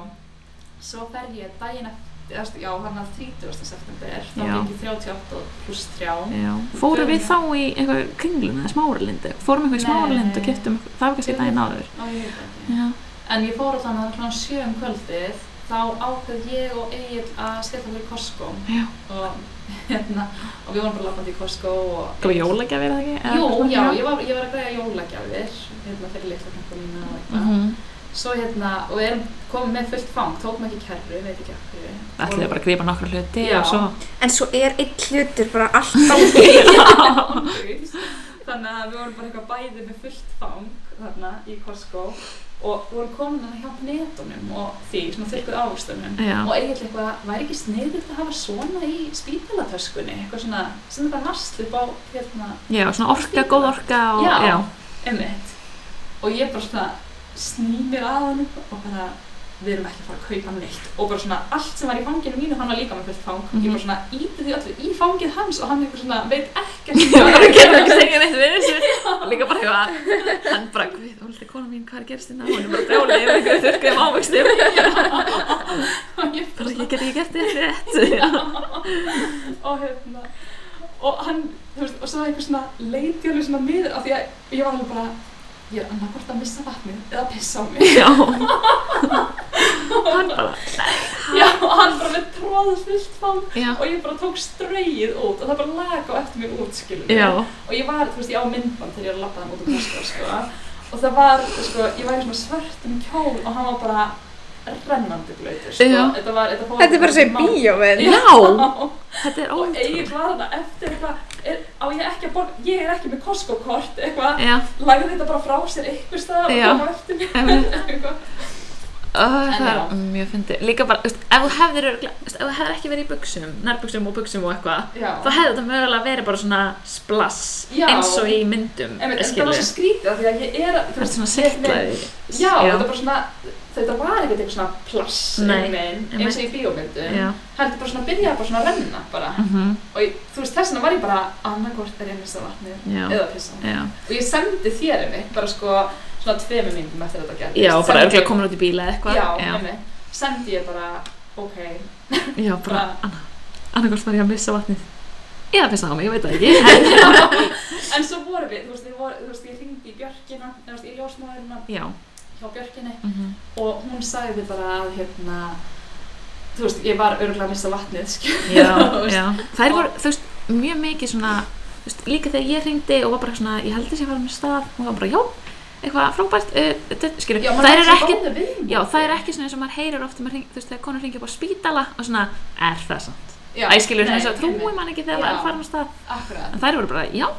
svo fer ég daginn eftir, eða, st- já, hann að 30. september, þá Já. fengi ég 38 pluss 3. já. Fórum við þá í eitthvað kringlun eða smáralind Fórum eitthvað í Nei. smáralind og keftum það var kannski daginn áður Ó, ég veit það ekki. Já, En ég fór alltaf hann kláðan 7 um kvöldið, þá ákveð ég og Egil að skella fyrir Costco já og, (laughs) hérna, og við vorum bara lappandi í Costco og... Það var jólagjafir eða ekki? Eða Jú, eitthvað svona, já, ég var, ég var að greiða jólagjafir, hérna, fyrir litla krakka mína og eitthvað. Mhm. Svo hérna, og við erum komið með fullt fang, tókum ekki kerru, veit ekki af hverju. Ætluðu bara að grípa nokkra hluti Já. og svo En svo er einn hlutur bara alltaf. (laughs) Ángrís. þannig að við vorum bara eitthvað bæði með fullt fang þarna í Costco og vorum komin að hjá netunum og því, svona þurrkuð ávöxtunum Já. og eiginlega eitthvað, væri ekki sniðugt að hafa svona í spítalatöskunni eitthvað svona, sem er bara nasl upp á hérna, Já, svona orka, góð orka og Já. já, emmitt og ég bara svona sný mér að hann og bara, við erum ekki að fara að kaupa neitt og bara svona, allt sem var í fanginu mínu hann var líka með fullt fang, ég Mhm. bara svona íti því öllu í fangið hans og hann eitthvað svona, veit (laughs) ekkert (laughs) Já, hvað er bara að getur (laughs) ekki segja neitt við þessu og líka bara eitthvað hann bara, guð, hún lítið kona mín, hvað er gerst hérna hún er bara brjálið yfir einhverju þurrkuðum ávöxtum gera." Ég bara bara, ég get ekki gert þetta (laughs) rétt og hérna og hann, þú veist, og svo eitthvað svona leiti alveg svona miður af því að ég var alveg bara ég er annarkvort að missa vatnið eða pissa á (laughs) mig (laughs) já hann bara, já, og hann bara með tróðu fullt fang já, og ég bara tók streyið út og það bara laga á eftir mér út, skilur já og ég var, þú veist, ég á myndband þegar ég var að labba hann út á Costco, sko og það var, sko, ég var í svona svörtum kjól og hann var bara rennandi blöytur, sko Já. þetta var, þetta fór Þetta er bara svo í Má- bíómið. (laughs) já, þetta er og ótrúlega Egil var þarna eftir eitthvað er, á ég ekki að borga, ég er ekki með Costco-kort eitthvað, já, lagði þetta bara frá sér einhver stað og Já. koma eftir mér einmitt. eitthvað. Ó, það já. er mjög fyndið. Líka bara, þú veist, ef þú hefðir, örugglega- þú veist, ef þú hefðir ekki verið í buksum, nærbuksum og buksum og eitthvað, Já. þá hefði þetta mögulega verið bara svona splass, Já. eins og í myndum, En, en það skilur. var svo skrítið af því að ég er að, Það er svona einhvern sittlaði. veginn- Já, þetta var bara svona, þetta var ekkert eitthvað svona plass Nei, einhvern veginn, eins og í bíómyndum Já. heldur bara svona að byrja bara svona að renna bara Mhm, og ég, þú veist þess vegna var ég bara annarkort er ég að missa vatnið Já. eða pissa Já. og ég sendi þér einmitt bara sko svona tveimur myndum eftir þetta gerðist Já, bara Sendi- örgulega komin út í bíla eða eitthvað. Já, einmitt, sendi ég bara ok, Já, bara, Bara- annað, annarkvort var ég að missa vatnið. Ég að pissa á mig, ég veit það ekki. (laughs) en svo vorum við, þú veist, við voru, þú veist ég ringdi í Björkina, þú veist, í ljósmaðurina já, hjá Björkinni mm og hún sagði bara að hérna þú veist, ég var örgulega að missa vatnið skil. (laughs) já, (laughs) Þú veist, já. Þær voru, þú veist, mjög mikið svona, þú veist, líka þegar ég hringdi og var bara svona, ég heldur sér að fara með stað og var bara, já, eitthvað frábært, uh, skilur, Já, maður þær eru svo ekki, góður við já, þær eru ekki svona eins og maður heyrir ofta, hring, þú veist, þegar konur hringi upp á spítala og svona, er það samt? Já, Æ, skilur, svona nei, eins og einmitt, trúi mann ekki þegar Já. maður fara með stað, Akkurat en þær voru bara, já,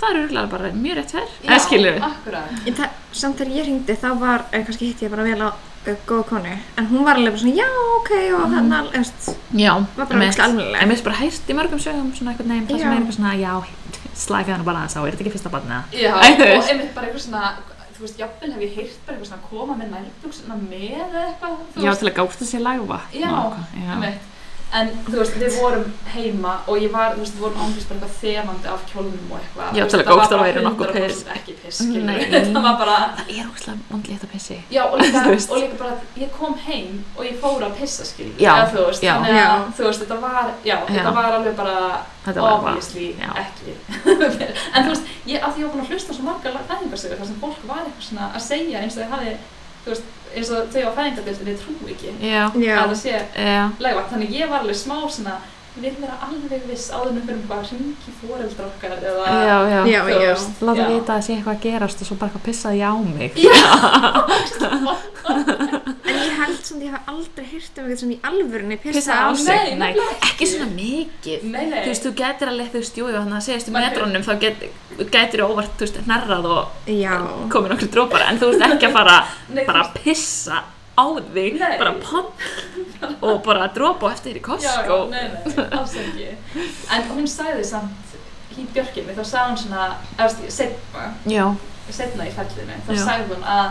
það eru örgulega bara mjög rétt fyrr, Já, eða skilur, Akkurat En það- Samt þegar ég hringdi þá var, eh, kannski hitti ég bara vel á eh, góð konu, en hún var alveg bara svona, já, ok, og mm. þannig, þú veist, já, var bara einmitt. ekki alveg. En mér finnst bara heyrt í mörgum sögum svona eitthvað neginn, það sem Já. er eitthvað svona, já, (laughs) slækið hann bara aðeins á, er þetta ekki fyrsta barnið? Já, Æ, þú og veist. einmitt bara eitthvað svona Þú veist, jafnvel hef ég heyrt bara eitthvað svona koma með nærbuksuna með eða eitthvað þú Já, veist. til að gáta sér læfa. Já, já. einmitt En þú veist, við vorum heima og ég var, þú veist, við vorum ánglis bara eitthvað þemandi af kjólnum og eitthvað Já, Þú veist, til að það var gósta bara væri nokkuð 100% piss. Ekki piss, skilur Nei. við. (laughs) Það var bara Það er óslega vondlíkt að pissi. Já, og líka, (laughs) Þú veist. og líka bara að ég kom heim og ég fór að pissa, skilur við. Já, Eða, þú veist, já. Þannig að, Já. þú veist, þetta var, já, Já. þetta var alveg bara Þetta var bara, obviously já. ekki (laughs) en þú veist, ég, af því ég var búin að hlusta á svo margar fæðingarsögur þar sem fólk var eitthvað svona að segja eins og þau hafi þú veist, eins og þau á fæðingardeildinni trú ekki Já, já, að það sé já, legvað, þannig ég var alveg smá svona ég vil vera alveg viss áður en við fyrir bara hringi fóreldra okkar eða já, já. já, þú já, veist, Láta já. vita að það sé eitthvað að gerast og svo bara eitthvað pissaði ég á mig. en ég held samt ég hef aldrei heyrt um eitthvað svona í alvörunni pissa Pissaði á á sig. sig. Nei, Nei, nefnilega ekki svona mikið. Nei, nei. Þú veist, þú getur alveg, þú veist, jú, jú, þannig að segjast í Maður- metrónum, þá get, getur þú óvart, þú veist, hnerrað og Já, komið nokkur drópar, en þú veist ekki að fara Nei, þú bara veist- að pissa á þig, Nei. bara popp og bara að drópa á eftir þér í sko. já, Costco. já, nei, nei, alls ekki en hún sagði samt í björkinni, þá sagði hún svona eða setna, Já, setna í fellinu þá Já. sagði hún að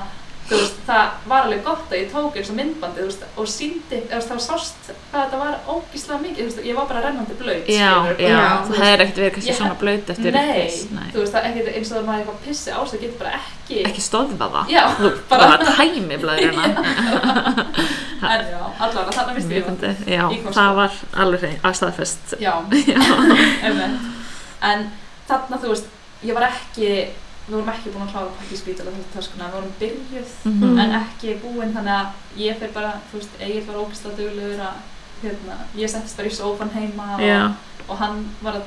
þú veist, það var alveg gott að ég tók eins og myndbandi þú veist, og síndi, þú veist, þá sást hvað þetta var ógíslega mikið, þú veist, ég var bara rennandi blöyt já, já, Já, þú hefðir ekkert verið kannski Ég- svona blöyt eftir nei, piss, nei. þú veist, það er ekkert eins og það maður eitthvað pissi á sig getur bara ekki, ekki stöðva það já, þú bara hérna. tæmi (laughs) blæðurina en já, allavega, þannig að vissi mjög ég það. fyndið, já, Í sko. Costco. það var alveg hrein, að staðfest (laughs) já, (laughs) einmitt en þarna, þú veist, ég var ekki við vorum ekki búin að klára pakki spítala þetta töskuna, við vorum byrjuð Mhm. en ekki búin þannig að ég fyrir bara, þú veist, Egil var ógislega duglegur að hérna, ég settist bara í sófan heima já, og, og hann var að,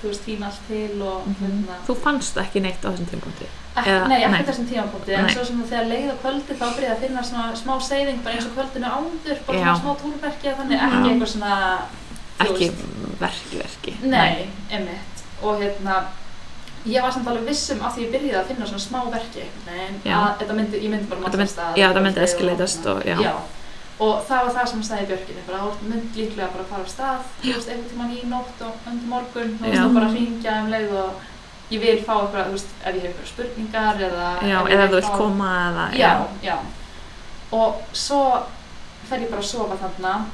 þú veist, tíma allt til og Mhm. hérna, þú fannst ekki neitt á þessum tímpunkti ekki, eða- nei, ekki nei. nei. þessum tímapunkti en Nei. svo sem að þegar leið á kvöldi þá byrjaði að finna svona smá seyðing bara eins og kvöldinu áður, bara Já. svona smá túrverki eða þannig, ekki Já. eitthvað svona þú ekki veist, verki, verki Nei, einmitt. Og hérna, ég var samt alveg viss um af því ég byrjaði að finna svona smá verki einhvern veginn, Já. að þetta myndi, ég myndi bara Þetta myndi- matast að- já, þetta myndi og- eskalatast og- já. Og það var það sem sagði Björkinni, bara þú mynd líklega bara að fara af stað, þú veist, einhvern tímann í nótt og undir morgun, þú veist, Já. og bara hringja um leið og ég vil fá eitthvað, þú veist, ef ég hef eitthvað spurningar eða... já, ef ég eða vil þú vilt fá- koma eða, já, já og svo fer ég bara að sofa þarna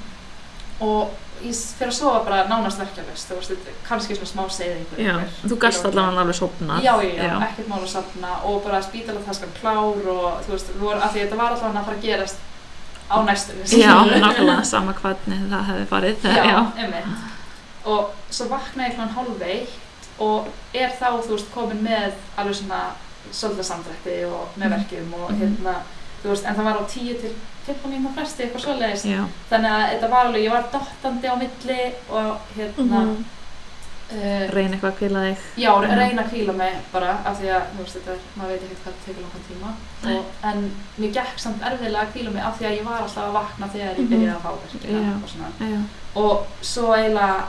og ég s- fer að sofa bara nánast verkefnist þú veist, þetta er kannski svona smá seyðingur já, þú gast allavega alveg sopnað já, já, já, ekkert mál að safna og bara spítala það skal klár og þú veist, við vorum, af því þetta var allavega að fara að gerast á næstunni já, skilurðu. nákvæmlega sama hvernig það hefði farið já, já, einmitt og svo vakna ég kláðan hálfveitt og er þá, þú veist, komin með alveg svona svolítið samdrætti og með verkjum og Mhm. hérna þú veist, en það var á 10 til 15 mínúna fresti eitthvað svoleiðis, já, þannig að þetta var alveg ég var dottandi á milli og hérna Mhm. uh, reyna eitthvað að kvíla þig já, reyna að kvíla mig bara af því að, þú veist, þetta er, maður veit ekki hvað það tekur langan tíma og, en mér gekk samt erfiðlega að kvíla mig af því að ég var alltaf að vakna þegar Mhm. ég byrjaði að fá verkina Já. og svona já, og svo eiginlega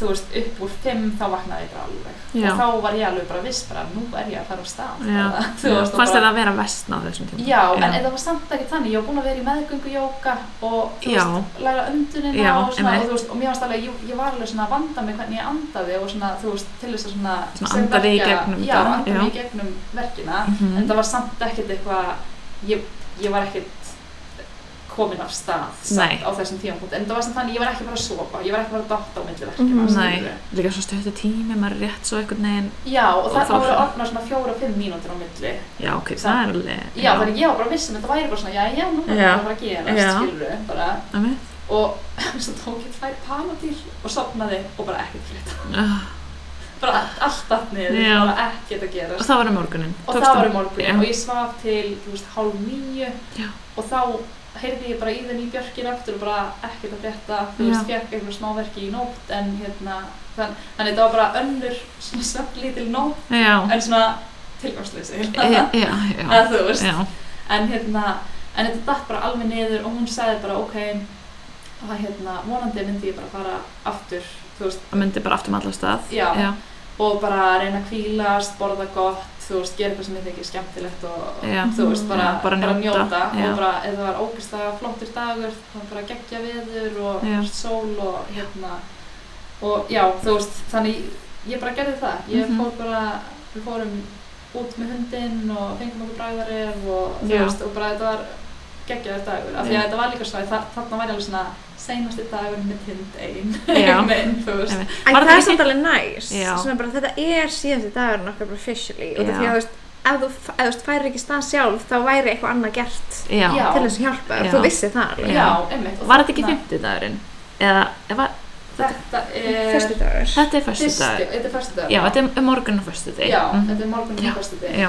þú veist, upp úr fimm þá vaknaði ég bara alveg Já. og þá var ég alveg bara viss bara nú er ég að fara á stað Já. Bara, (laughs) þú veist, og Fannst bara- þetta að vera vestna á þessum tíma? Já, en það var samt ekki þannig, ég var búin að vera í meðgöngu jóka og þú Já. veist, læra öndunina Já, og svona, einmitt. og, þú veist, og mér varst alveg, ég, ég var alveg svona að vanda mig hvernig ég andaði og svona, þú veist, til þess að svona, Svona sem anda þig í verkja- gegnum já, þetta, anda mig já. í gegnum verkina, Mhm. en það var samt ekkert eitthvað, ég, ég var ekkert komin af stað Nei. samt á þessum tímapunkt, en það var samt þannig, ég var ekki bara að sofa, ég var ekki bara að dotta á milli verkina, Mhm. skilurðu. Nei, líka svo stöttu tími, maður er rétt svo einhvern veginn, Já, og, Og það þá- var að opna svona fjóra-fimm mínútur á milli. já ok, Sa- það er alveg, Já, þannig ég var bara að missa að þetta væri bara svona, já, já, nú er Já. það bara að Já. gera, skilur, bara, Einmitt. og (laughs) svo tók ég tvær panadíl og sopnaði og bara ekkert fyrir þetta Ah, bara allt- allt allt niður, Já. bara ekkert að Og gerast það var um morgunin. og það var um morgun Já. og ég svaf til þú veist, hálf nýju Já. og þá heyrði ég bara í þenni í björkinu aftur og bara ekkert að frétta þú Já. veist, fekk einhver smáverki í nótt en hérna, þann, þannig þetta var bara önnur svona svefnlítil nótt Já, (laughs) Eh, en svona tilgangsleysi já, já, já, eða þú veist já, en hérna, en þetta datt bara alveg niður og hún sagði bara ok að hérna, vonandi myndi ég bara fara aftur, þú veist, það myndi bara aftur um allar stað. Já. Já, og bara reyna að hvílast, borða gott, þú veist, gera eitthvað sem ég þykir skemmtilegt og, Já. og þú veist, bara, Já, bara njóta, já. og bara, ef það var ógeðslega flottur dagur, þá var bara geggja veður og Já. sól og hérna, og já, þú veist, þannig ég bara gerði það, ég Mhm. fór bara, við fórum út með hundinn og fengum okkur bræðarif og þú Já. veist, og bara þetta var geggjaður dagur, af því Já. að þetta var líka svo að þa- þarna væri alveg svona seinasti dagur með tind ein, (laughs) Já. minn, þú veist, einmitt. Æ, Var það þetta er ekki- samt alveg næs Já. svona bara þetta er síðasti dagurinn okkar bara officially og þetta Já. því að þú veist ef þú, f- ef þú veist, færir ekki stað sjálf þá væri eitthvað annað gert Já, Já. til þess að hjálpa þér, Já. þú vissir það alveg Já. já, einmitt og var þetta ekki þarna- fimmtudagurinn? Eða, eða, Þetta er fyrstu dagur Eh, þetta er fyrsti- fyrstudagur. Þetta er fyrstu dagur Já, þetta er um morgun og fyrstudag. Já, þetta er morgun Já. og fyrstu dag Mhm. Já,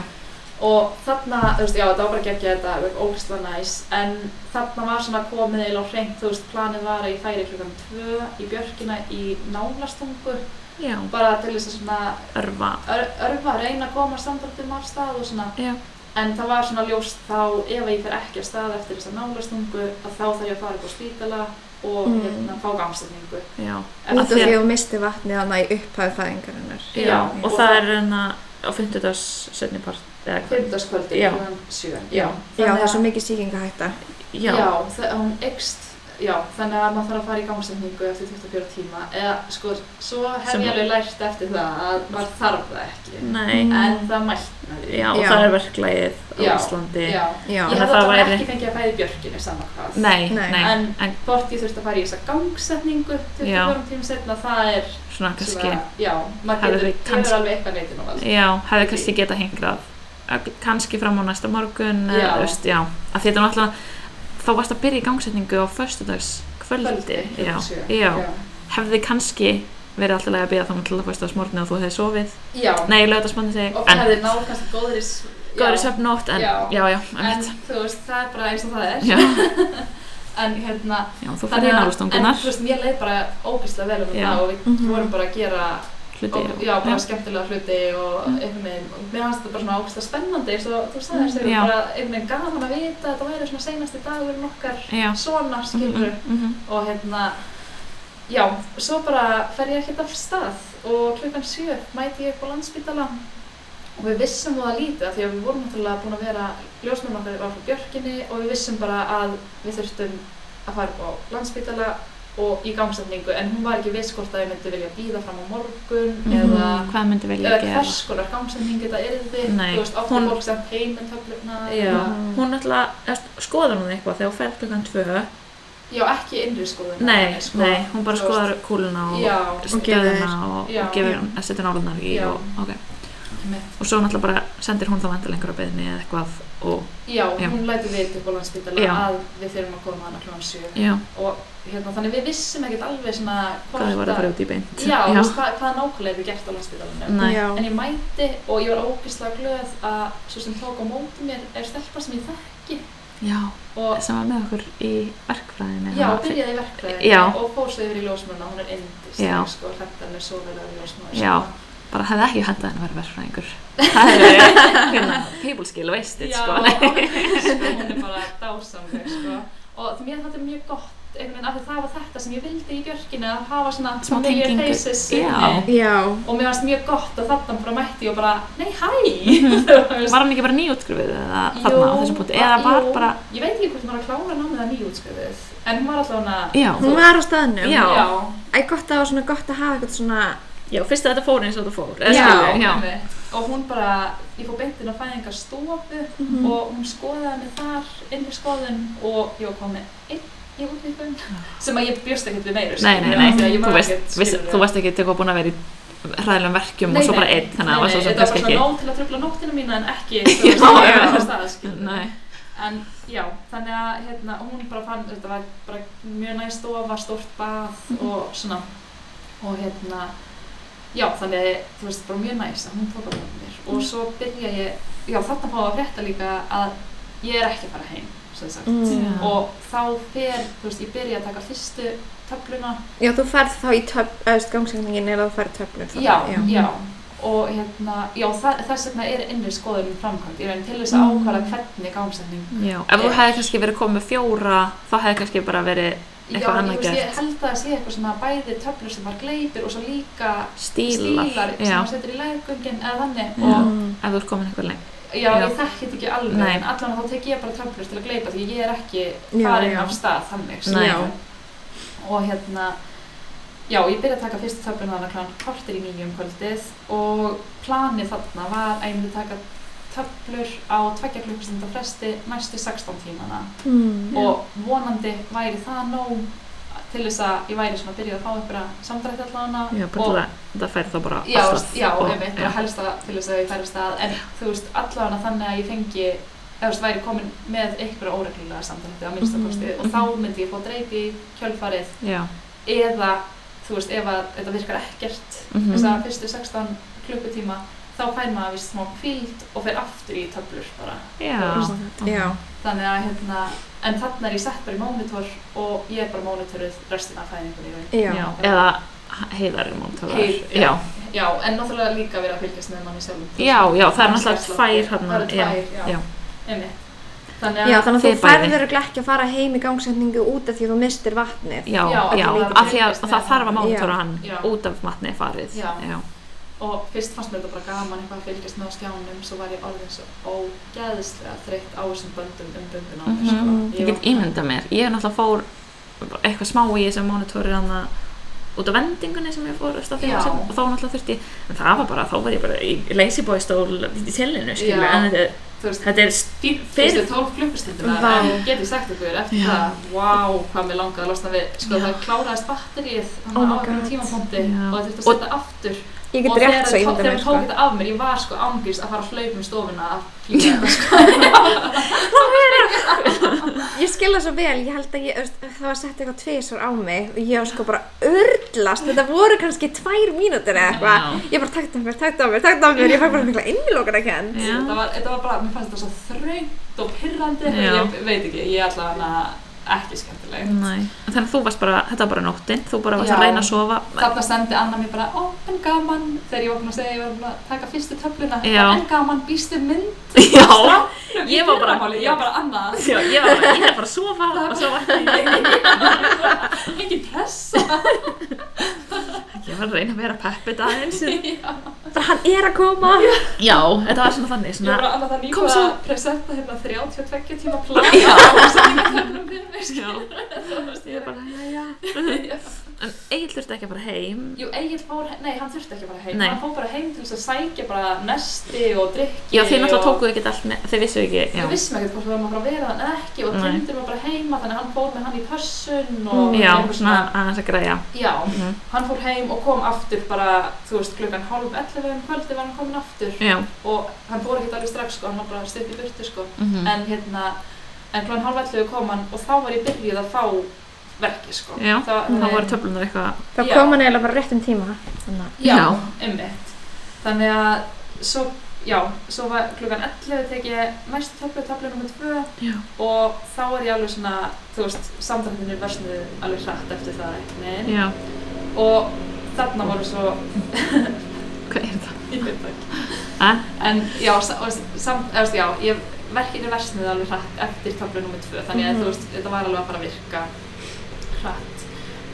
og þarna, þú veist, já, þetta var bara geggja þetta var ógæslega næs, en þarna var svona komið eða á hreint, þú veist, planið var að ég færi klukkan 2 í björkina í nálastungu, já, bara til þess að svona örfa. ör, örfa, reyna að koma samdáttum af stað og svona, Já, en það var svona ljóst þá, ef að ég fer ekki af stað eftir þessa nálastungu, að þá þarf ég að fara upp á spítala og Mm. hérna, fá gangsetningu já. út af Af því því að- að þú misti vatnið þannig í upphæðu fæðingarinnar Já, Já, og og það það- er hérna á 50 dags setni part eða hvað? Fyrndagskvöldi, Já. klukkan 7 Já. já, það er Þannig að- svo mikið sýkingahætta Já, Já, það, hún eykst já, þannig að maður þarf að fara í gangsetningu eftir 24 tíma eða sko, svo hef Sem- ég alveg lært eftir það að maður þarf það ekki nei, en það mæltnaði Mm. já, og Já. það er verklæðið á Já, Íslandi já. já, Þannig ég að hef það alltaf væri- ekki fengið að fæði björkinu saman hvað Nei, nei, Nei. en, En- hvort ég þurfti að fara í þessa gangsetningu 24 tíma setna, það er svona kannski svona, já, maður Hefði getur, kannski- hefur alveg eitthvað neitin og vald Já, hefði kannski getað hingrað Ögl- kannski fram á næsta morgun Já. eða, þú veist, já, af því þetta er náttúrulega þá varst að byrja í gangsetningu á föstudags kvöldi, já, sjö, já hefði kannski verið alltaf að bíða þá til að föstudags morgun og þú hefði sofið já, nei, lögðarsmorgun segi, og en það hefði náð kannski góðri s- já, góður í söfnótt, en, Já. já, já, en einmitt. þú veist, það er bara eins og það er já, (laughs) en hérna já, þú fyrir Þannig í að- En nálastungunar þú veist, mér leið bara ógeðslega vel um Já. þetta og við Mhm. vorum bara að gera hluti, Mhm. og, já, bara skemmtilega hluti og einhvern veginn, og mér fannst þetta bara svona ógeðslega spennandi eins og þú sagði þessu, Já. bara einhvern veginn gaman að vita að þetta væri svona seinasti dagur nokkar já, svona skilur mhm. og hérna já, svo bara fer ég ekkert af stað og klukkan sjö mæti ég upp á landspítala og við vissum það lítið af því að við vorum náttúrulega búin að vera ljósmennum okkar var frá Björkinni og við vissum bara að við þurftum að fara upp á landspítala og í gangsetningu en hún var ekki viss hvort að ég myndi vilja býða fram á morgun eða Mhm, hvað myndi vilja eða gera hvers konar gangsetning þetta yrði Nei, þú veist, ofta hún- fólk sem heim með töflurna já. Mhm. hún náttúrulega þú veist, skoðar hún eitthvað þegar hún fer klukkan tvö já, ekki innri skoðun nei, nei, hún bara sko, þú veist. skoðar kúluna og já, stöðuna og, Já. og gefur hún að setja nálunar í Já. og, okay. einmitt. og svo náttúrulega bara sendir hún þá vendal einhverja beðni eða eitthvað og Já, Já. hún læti við upp á landspítala Já. að við þurfum að koma hana klokkan 7 já, og hérna, þannig við vissum ekkert alveg svona hvað þið voru að fara út í beint Já, já, þú Mm. veist, hvað, hvað nákvæmlega við gert á landspítalanum nei, já, En ég mæti og ég var ógeðslega glöð að svo sem tók á móti mér er stelpa sem ég þekki já, og sem var með okkur í verkfræðinni já, hana- byrjaði í verkfræði Já. og fór svo yfir í ljósmörna, hún er indist Já. sko, hrættar með svo vel að vera ljósmörna Já. bara hefði ekki hendað henni að vera (laughs) verkfræðingur það hefði hérna, people skill wasted (laughs) Já, sko sko, hún er bara dásamleg sko. og því mér þetta er mjög gott einhvern veginn af því það var þetta sem ég vildi í björkinu að hafa svona Smá familiar tengingu. faces Já. inni. Já, og mér varst mjög gott að þarna bara mætti og bara, nei, (laughs) hæ Var hann ekki bara nýjútskrifuð eða Mhm. þarna á þessum punktu? Eða var jú, bara, ég veit ekki hvort hún var að klára námið að nýjútskriðið en hún var alltaf hana já, hún var á staðnum. Já. Æ, gott að það var svona gott að hafa eitthvað svona, já, fyrst að þetta fór eins og þetta fór. eða skilur, já. einmitt. og hún bara, ég fór beint inn á fæðingarstofu Mhm. og hún skoðaði mig þar innri skoðun og ég var komið einn í útlýkun sem að ég bjóst ekkert við meira Nei, nei, nei, þú, veist, veist, veist, þú varst ekki eitthvað búin að vera í hræðilegum verkjum og svo bara einn, þannig að það var svo sem þetta var kannski bara ekki. svona nóg til að tröfla nóttina mína en (laughs) ekki Já, já. já, Nei, en já, þannig að hérna, hún bara fann, þetta var bara mjög næst stofa, stórt bath og svona og hérna já, þannig að þú veist, bara mjög næst að hún tók að með mér og svo byrja ég, já þarna fá að frétta líka að ég er ekki að fara heim sem sagt, Mm. Já. og þá fer, þú veist, ég byrja að taka fyrstu töfluna já, þú færð þá í töfn, eða gangsetningin er að þú færð töfnum. þá, já, já. já og hérna, já þa- þess vegna er innri skoðurinn framkvæmt, ég reyni til þess að Mm. ákvæða hvernig gangsetning já, ef þú Eh. hefði kannski verið komið með fjóra, þá hefði kannski bara verið Já, Eitthvað ég, annað veist, ég gert. held að það sé eitthvað svona bæði töflur sem var gleipir og svo líka stílar. stílar, sem já, maður setur í lægungin eða þannig Já. og Mm. ef þú er komin eitthvað lengt. já, Já. ég þekki þetta ekki alveg Nei. en allan þá tek ég bara töflur til að gleipa því ég er ekki Já, farin já. af stað þannig Nei. skilurðu. og hérna já, ég byrja að taka fyrstu töflun þannig klán kortir í nýjum kvöldið og planið þarna var að ég myndi taka töflur á tveggja klukkustunda fresti næstu 16 tímana Mm. og vonandi væri það nóg til þess að ég væri svona að byrja að fá einhverja samdrætti allavega Já, bara til að þetta fær þá bara já, af veist, stað já, og- einmitt, bara helst að til þess að ég færi stað en þú veist, allavega þannig að ég fengi eða þú veist, væri komin með einhverja óreglulega samdrætti á minnsta Mhm, kosti mhm. og þá myndi ég fá dreipi í kjölfarið Já, eða, þú veist, ef að þetta virkar ekkert Mhm. þess að fyrstu 16 klukkutíma þá fær maður vist smá kvíld og fer aftur í töflur bara já, Þú Já, þannig að hérna, en þarna er ég sett bara í mónitor og ég er bara mónitoruð restina af fæðingunni í já, raun. já. Eða heiðar í móntóðar. Heiðar, já. Já, en náttúrulega líka verið að fylgjast með manni sjálfum. Já, já, það er náttúrulega tvær hann. Það eru tvær, já. já. Einmitt. Þannig að, Já, þannig að Þið þú bæði. færður ekki að fara heim í gangsetningu út af því að þú mistir vatnið. Já, Já, já, að þú verður af því að fylgjast með það þarf að honum. mántora Já. hann Já. út af matni farið. Já. já. og fyrst fannst mér þetta bara gaman eitthvað að fylgjast með á skjánum, svo var ég orðin svo ógeðslega þreytt á þessum böndum um böndun á mér, Mhm. Mm-hmm. sko. Ég get ímynda mér, ég er náttúrulega fór eitthvað smá í þessum mónitori hann út af vendingunni sem ég fór veist, á því Já. sem, og þá náttúrulega þurfti ég, en það var bara, þá var ég bara í leysibóistól í tjellinu, skilur, Já. en þetta, Þú veist, þetta er fí- fyrstu 12 klukkustundina, Vá. en get ég sagt ykkur eftir Já. það, vá, hvað mér langaði að losna við, sko, það kláraðist batterið, Oh my þannig á einhverjum God. tímapunkti Já. og það þurfti að Og- setja aftur Ég get og þegar rétt svo ég tók, ímynda þegar mér, ég sko. tók þetta af mér, ég var sko ángist að fara að hlaupa um stofuna að flýja þetta sko. Ég skilða svo vel, ég held að ég, öst, það var sett eitthvað tvisar á mig og ég var sko bara örlast, þetta voru kannski tvær mínútur eða eitthvað. Já. Ég bara takt á mér, takt á mér, takt á mér, ég fæ bara mikla innilókar að kenn. Já. Þetta var, þetta var bara, mér fannst þetta svo þröngt og pirrandi, Já. Mm. ég veit ekki, ég er allavega ekki skemmtileg. Nei. En Þannig að þú varst bara, þetta var bara nóttin, þú bara varst Já. að reyna að sofa. Þarna sendi Anna mér bara, ó, en gaman, þegar ég var búin að segja, að ég var búin að taka fyrstu töfluna, Já. en gaman, býstu mynd, (laughs) Já, stráknum Ég var bara- fyrramáli, ég var bara Anna, já, ég var bara, ég er bara að sofa og svo vaknaði ég. (laughs) engin pressa. Ég var að reyna að vera peppið aðeins. Já. Bara hann er að koma. Já, þetta var svona þannig, Ég var svona, bara annað það kom nýbúið svo. að presenta hérna 32 tíma plan (laughs) og setja töflum fyrir já, mig. ég skilurðu. er bara, já, já. Já. En Egil þurfti ekki að fara heim. Jú, Egil fór, nei, hann þurfti ekki að fara heim, Nei. hann fór bara heim til þess að sækja bara nesti og drikki Já, þið náttúrulega og- tókuðu ekkert allt, ne- þið vissu ekki, já. Við vissum ekkert hvort við varum að fara að vera þann ekki og Nei. Mm, tindur var bara heima, þannig að hann fór með hann í pössun og Já, eitthvað svona aðeins að græja. Já, Mhm. hann fór heim og kom aftur bara, þú veist, klukkan hálf 11 um kvöldi var hann komin aftur Já, og hann fór ekkert alveg strax sko, hann var bara stutt í burtu sko mhm. en hérna, en klukkan hálf 11 kom hann og þá var ég byrjuð að fá verki sko Já, Þá- þá þannig- voru töflunar eitthvað. Þá Já. kom hann eiginlega bara rétt um tíma. Þannig. að- Já, Já. ummitt. Þannig að svo, já, svo var klukkan 11 tek ég næstu töflu, töflu nr. 2 Já. og þá er ég alveg svona, þú veist, samdrættinir versnuðu alveg hratt eftir það eitthvað Já, og þarna voru svo, (laughs) hvað er þetta? ég veit það ekki, Eh? en já, sa- og samt, eða, þú veist, já, ég verkinu versnuðu alveg hratt eftir töflu nr. 2 þannig að Mhm. þú veist, þetta var alveg að fara að virka hratt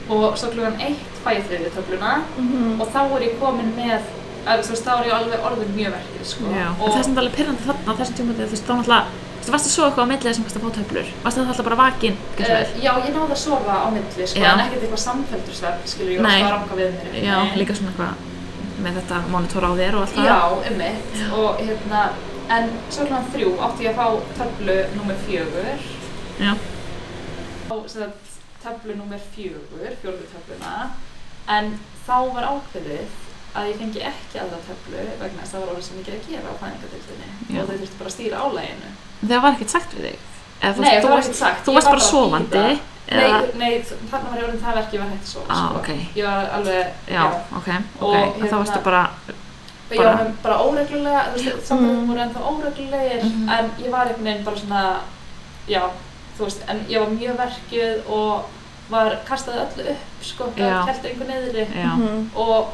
og svo klukkan eitt fæ ég þriðju töfluna Mhm. og þá er ég komin með eða, þú veist, þá er ég alveg orðin mjög verkið sko. Já, og og það er samt alveg pyrrandi þarna á þessum tímundi þú veist, þá náttúrulega, þú veist, varstu svo eitthvað á millið sem kannski að fá töflur, varstu það alltaf bara vakin Uh, uh, já, ég náði að sofa á milli, sko, Já. en ekkert eitthvað samfelldur svefn, skilur ég, Nei. og það ranga við mér. já, Nei. líka svona eitthvað með þetta monitor á þér og allt það Já, ummitt og hérna, en svo klokkan þrjú átti ég að fá töflu nummer fjögur Já. Þá, sem sagt, töflu nummer fjögur, fjórðu töfluna en þá var ákveðið að ég fengi ekki aðra töflu vegna þess að það var orðið sem mikið að gera á fæðingadeildinni Já. og þau þurftu bara að stýra álæginu það var ekkert sagt við þig Eða, þú Nei, veist, það þú var varst- ekkert sagt þú ég varst var bara að sofandi bíða. eða, Nei, nei, þarna var ég orðin það verk, ég var hægt að sofa Ah, sko. ok. Ég var alveg, já, ok, ok, Og og, þá hérna- varstu bara Ég Bara- var með bara óreglulega, þú veist, samfélagum voru ennþá óreglulegir, Mhm. en ég var einhvern veginn bara svona, já, þú veist, en ég var mjög verkið og var kastaði öllu upp, sko, Já. það held einhver neyðri já, Mhm. og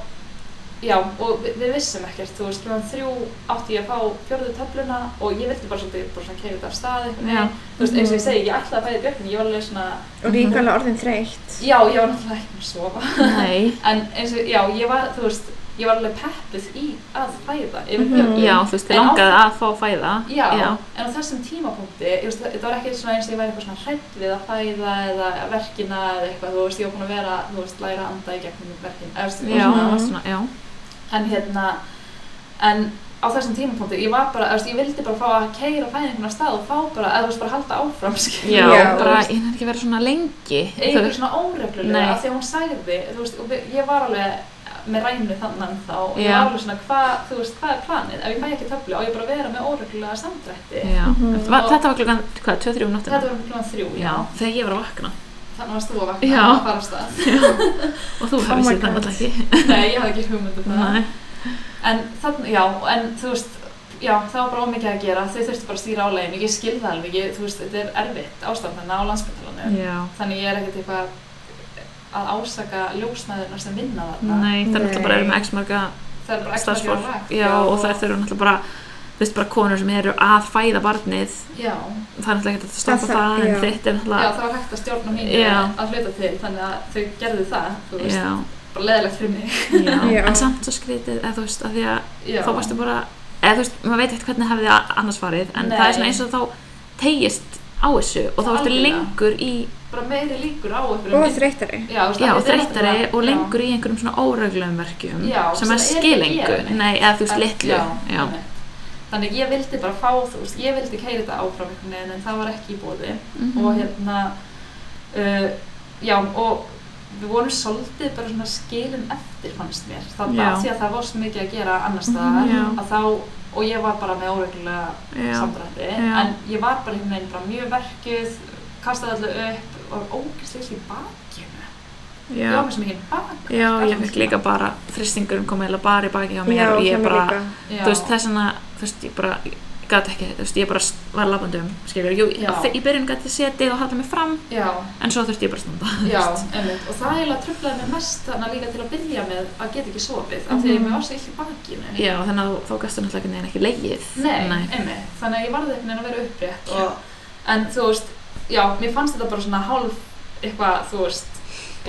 já, og við, við vissum ekkert, þú veist, klukkan þrjú átti ég að fá fjörðu töfluna og ég vildi bara svolítið, bara svona keira þetta af stað Já. einhvern veginn, þú veist, eins og ég Mhm. segi, ég ætlaði að fæði björnum, ég var alveg svona, Og líka alveg orðin þreytt. já, ég var náttúrulega ekki með að sofa. nei En eins og, já, ég var, þú veist, ég var alveg peppuð í að fæða yfir Mhm. höfuð. já, þú veist, þið Mm. En á- langaði að fá að fæða Já, já, en á þessum tímapunkti, ég veist, það var ekki svona eins og ég væri eitthvað svona hrætt við að fæða eða verkina eða eitthvað, þú veist, ég var búin að vera, þú veist, læra að anda í gegnum verkin, já, eða þú veist, það svona, var svona, já en hérna, en á þessum tímapunkti, ég var bara, þú veist, ég vildi bara fá að keira fæðinguna stað og fá bara, eða þú veist, bara halda áfram, (laughs) skilur. já, Já. bara, ég nefnir ekki að vera svona lengi eitthvað þú, svona óreglulega Nei. af því að hún sagði, þú veist, og við- ég var alveg með rænu þannan þá og ég Já. var alveg svona, hvað, þú veist, hvað er planið? Ef ég fæ ekki töflu á ég bara að vera með óreglulega samdrætti. já, Mhm. Va- þetta var klukkan, hvað, 2-3 um nóttina Þetta var um klukkan þrjú, já. já, þegar ég var að vakna Þannig varst þú að vakna Já. að fara af stað. (laughs) og þú Oh hefði my sér God. það alltaf (laughs) ekki Nei, ég hafði ekki hugmynd um það. Nei. En þannig, já, en þú veist, já, það var bara ómikið að gera. Þau þurftu bara að stýra áleginu. Ég skilði alveg, ég, þú veist, þetta er erfitt ástand þarna á landsbytalanum. Já, Þannig ég er ekkert eitthvað að ásaka ljósmaðurna sem vinna þarna. nei, það er náttúrulega bara Nei. eru með x marga Það er bara ekki að gera starfsfólk rækt. já, og það eru náttúrulega bara þú veist bara konur sem eru að fæða barnið Já, það er náttúrulega ekkert að stoppa Það- það, en já. þitt er já, náttúrulega það var hægt að stjórna mínu Já. að hluta til, þannig að þau gerðu það, þú veist, já, bara leðilegt fyrir mig. já. Já. en samt svo skrítið eða þú veist, að því að Já. þá varstu bara eða þú veist, maður veit ekkert hvernig hefði a- annars farið en það Nei. er svona eins og þá tegist á þessu og þá varstu Algjörlega. lengur í Bara meiri líkur á einhverjum. Og þreyttari. Já, þú veist, já, að þetta er þreyttari náttúrulega- og lengur í einhverjum svona óreglum verkjum Já, sem er sem það er ekki skilengu geðveikt. nei, eða þú veist, En- litlu já, einmitt. Þannig ég vildi bara fá, þú veist, ég vildi keira þetta áfram einhvern veginn en það var ekki í bóði Mhm. og hérna, uh, já og við vorum svolítið bara svona skilin eftir fannst mér þannig Já. að því að það var svo mikið að gera annars staðar Mhm, já. að þá, og ég var bara með óreglulega já. samdrætti Já. en ég var bara einhvern veginn bara mjög verkuð, kastaði allu upp og var ógeðslega í bakinu, ég var Já, með svo mikið bak já ég fekk líka bara þristingurinn kom eiginlega bara í baki á mér Já, og hjá ég mér bara, líka. Já. þú veist, þess vegna þú veist, ég bara, ég gat ekki þú veist, ég bara var labandi um, skiljur Jú, Já. á þe- í byrjun gat ég setið og haldið mig fram Já, en svo þurfti ég bara að standa Já, einmitt, og það eiginlega tröflaði mér mest þannig líka til að byrja með að geta ekki sofið af því að Mhm. mér var svo illt í bakinu Já, þannig að þú- þá gastu náttúrulega einhvern veginn ekki leið Nei, einmitt, þannig að ég varði einhvern veginn að vera upprétt og, en þú veist, já, mér fannst þetta bara svona hálf eitthvað, þú veist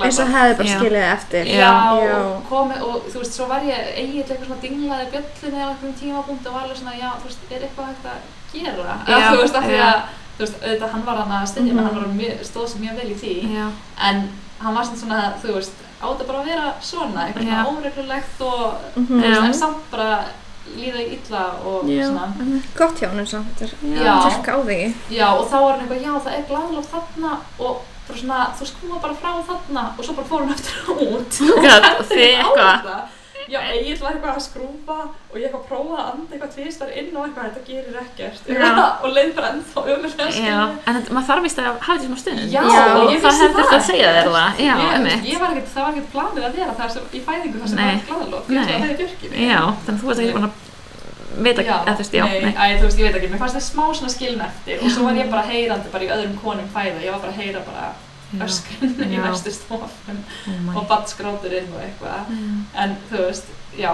Eins og glæpað. hefði bara Já. skilið það eftir. Já, Já. og komi, og þú veist, svo var ég eiginlega eitthvað svona dinglaði bjöllin eða einhverjum tímapunkt og var alveg svona, já, þú veist, er eitthvað hægt að gera? Já, Eða, þú veist, af því já. að, þú veist, auðvitað hann var hann að styðja mig, Mhm. hann var mjög, stóð sér mjög vel í því Já, en hann var samt svona, þú veist, átt að bara að vera svona, eitthvað Já. svona óreglulegt og, Mhm. þú veist, Já. en samt bara líða illa og já, svona. einmitt. Gott hjá honum samt. Það Já. er takk á því. Já, og þá var hann eitthvað, já, það er glaðlótt þarna og bara svona, þú skúma bara frá þarna og svo bara fór hann aftur (laughs) út. (laughs) (laughs) Gat, þið eitthvað það. Já, Egil var eitthvað að skrúfa og ég eitthvað prófaði að anda eitthvað tvistar inn og eitthvað, þetta gerir ekkert. Já. (laughs) og leið bara ennþá ömulega Já, en þetta- maður þarf vist að hafa því smá stund Já, og ég það vissi hefði þurft að það. segja þér það Já, ég, einmitt ég var ekkert, það var ekkert planið að vera það sem, í fæðingu það sem Nei. var glaðlótt, ég ætlaði Nei. að það er björkinni. Já, þannig að þú veist ekki búin að vita, eða þú veist, já, nei, Æ, þú veist, ég veit ekki, mér fannst það smá svona skilin eftir og svo var ég bara heyrandi bara í öðrum konum fæða, ég var bara að heyra bara Já. öskrinu í Já. verstu stofum Oh my og badskráturinn og eitthvað, Já. en þú veist, já,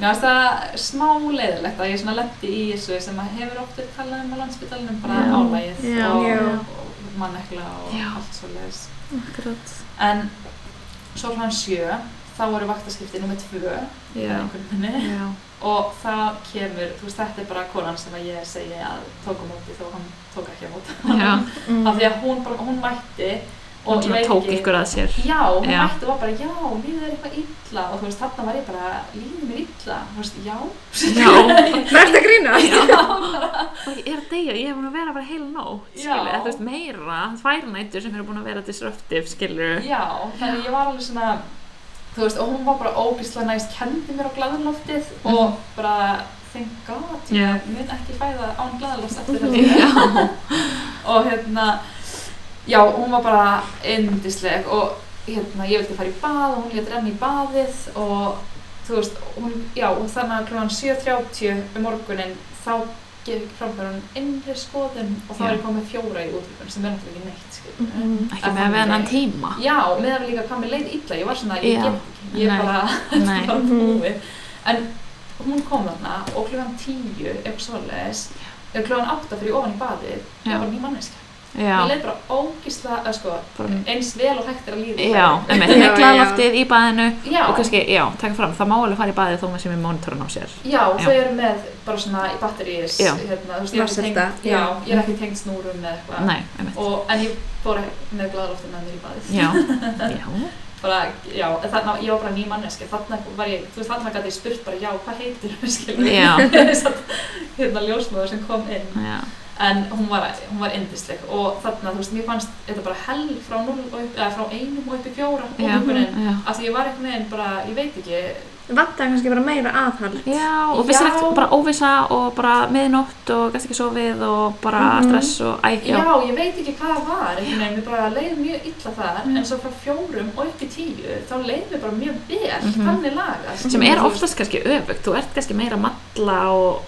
mér fannst það smá leiðilegt að ég svona lendi í þessu sem að hefur oft verið talað um á landsbytalinum, bara Já. álægið Já. og, Já. og, og mannekla og Já. allt svo leiðis. Akkurat. En svo hann sjö, þá voru vaktaskipti nummið tvö, Já. yeah. einhvern minni, Já. og það kemur, þú veist, þetta er bara konan sem að ég segi að tók á móti þó hann tók ekki á móti. Já. Mm. Af því að hún, bara, hún mætti og Og ég svona veit tók ekki- ykkur að sér. Já, hún Já. mætti og var bara, já, líður er eitthvað illa og þú veist, þarna var ég bara, líður mér illa, þú veist, já, Já. Verðst að grína? (laughs) Og ég er að deyja, ég hef búin að vera bara heil nótt, Já. skilur. Eða þú veist, meira, tvær nættur sem eru búin að vera disruptive, skilur. já, þannig ég var alveg svona, þú veist, og hún var bara óbíslega næst, kendi mér á glaðanloftið og bara, thank god, Mhm. Já. ég mun ekki fæða án glaðanloft (laughs) eftir þetta. Já. og hérna já, hún var bara yndisleg og hérna, ég vildi fara í bað og hún létt renna í baðið og þú veist, hún, já, og þannig að klukkan 7.30 um morgunin þá gefið framfæra hún innri skoðun og þá Já. Mhm. er ég komið fjóra í útlökun sem er náttúrulega ekki neitt, skiljum Ekki með að vera enn tíma. Já, meðan líka hvað mér leið illa, ég var svona, ég Já. get ekki, ég Nei. er bara, (laughs) Nei. Mm. bara búið. En hún kom þarna og klukkan 10, eitthvað svoleiðis, eða klukkan 8 fyrir ofan í baðið, Já. ég var ný manneska. Já. Mér leið bara ógísla, eða sko, Bara- eins vel og hægt er að líða. Já, einmitt, Já, hegla já. loftið í baðinu Já, og kannski, já, taka fram, það má alveg fara í baðið þó maður sem er mónitorun á sér. já, Já. þau eru með bara svona í batterís, Já. hérna, þú veist, ég er ekki Vatnsenda, tengd, já, ég er ekki tengd snúrum eða eitthvað. Nei, einmitt. Og, en ég fór með glaðloftin með mér í baðið. Já, já, Bara, já, þarna, ég var bara ný manneski, þarna var ég, þú veist, þarna gæti ég spurt bara, já, hvað heitir þú, (laughs) skilur Já. Þess að, hérna, ljósmaður sem kom inn. já, En hún var, hún var yndisleg og þarna, þú veist, mér fannst þetta bara hell frá 0 og upp, eða frá 1 og upp í 4 og já, hugurinn. já. Af því ég var einhvern veginn bara, ég veit ekki, Vantar kannski bara meira aðhald. Já, og vissi Já. ekkert bara óvisa og bara miðnótt og gæst ekki sofið og bara Mhm. stress og æ, já. já, ég veit ekki hvað það var, einhvern veginn, mér bara leið mjög illa þar, Mm. en svo frá fjórum og upp í tíu, þá leið mér bara mjög vel, Mhm. þannig laga. sem er oftast kannski öfugt, þú ert kannski meira að matla og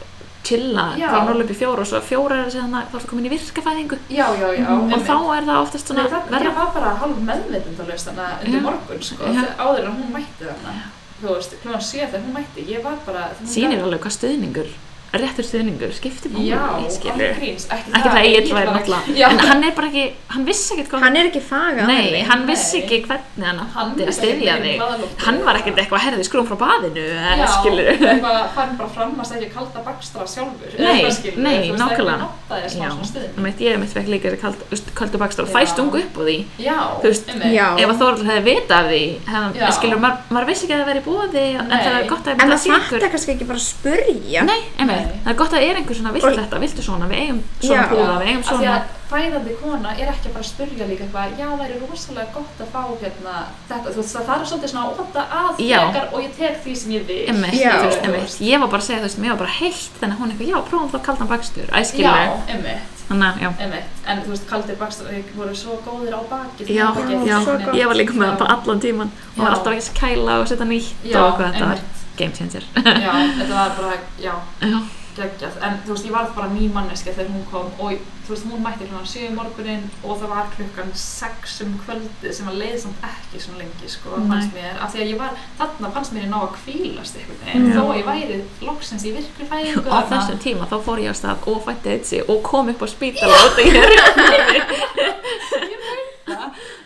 chilla Já. frá 0 upp í 4 og svo 4 er þessi þannig að þá ertu komin í virkafæðingu Já, já, já. og þá er það oftast Svona, svona það, ég verra. var bara hálf meðvitundalöst þannig að undir Já. morgun, sko, Já. þegar- áður en hún mætti þarna. Þú veist, klúan sé þegar hún mætti, ég var bara... hún Sýnir gat- alveg hvað stuðningur, réttur stuðningur, skiptir máli, Já, skilur. alveg gríns, ekki ekki það Egil ég væri bara- náttúrulega Já. en hann er bara ekki, hann vissi ekkert hvað Hann er ekki faga nei, hann vissi Nei. ekki hvernig hann Hann átti vissi að styðja ekkert þig neinn blaðalofti. hann var ekkert eitthvað herði skrúum frá baðinu eh, eða skilur Já, eitthvað farin bara fram að segja kalda bakstra sjálfur. eða Nei, eitthvað skilur, nei, þú veist, nákvæmlega. Það er notaði smá já, svona stuðning. mitt, ég mitt fekk líka þessi kald, þú veist, kaldu bakstur og Já. fæst ungu upp á því Já, Þú veist, einmitt. Já. ef að Þorl hefði vitað af því hefðan, Já. skilur, maður, maður vissi ekki að það væri í búði en Nei. það er gott að En það það fattar kannski ekki bara að spurja. Nei, einmitt, Nei. það er gott að það er einhver svona vilt Og- þetta, viltu svona, við eigum svona Já. búða, við eigum Af því svona að fæðandi kona er ekki að fara að spurja líka eitthvað, já, það er rosalega gott að fá hérna þetta, þú veist, það þarf svolítið svona að óta að Já. frekar og ég tek því sem ég vil. Einmitt, Já. þú veist, einmitt, ég var bara að segja þú veist, mér var bara heilt þannig að hún eitthvað, já, prófum þá kaldan bakstur, Já, æskilu, einmitt, þannig að, já, einmitt, en þú veist, kaldir bakstra voru svo góðir á baki. Já, það var ekki- já, einhvern veginn. ég var líka með það Já. bara allan tíman og var Já. alltaf ekki að kæla og setja nýtt Já, og eitthvað þetta var einmitt. game changer. Já, þetta var bara, (laughs) já, já, geggjað, en þú veist, ég varð bara ný manneska þegar hún kom og þú veist, hún mætti klukkan 7 í morgunin og það var klukkan 6 um kvöldið sem að leið samt ekki svona lengi, sko, Nei. fannst mér, af því að ég var, þarna fannst mér ég ná að kvílast einhvern veginn, Já. þó að ég væri loksins í virkri fæðingu á þessum (laughs) tíma þá fór ég á stað og fætti eitthi og kom upp á spítala og það er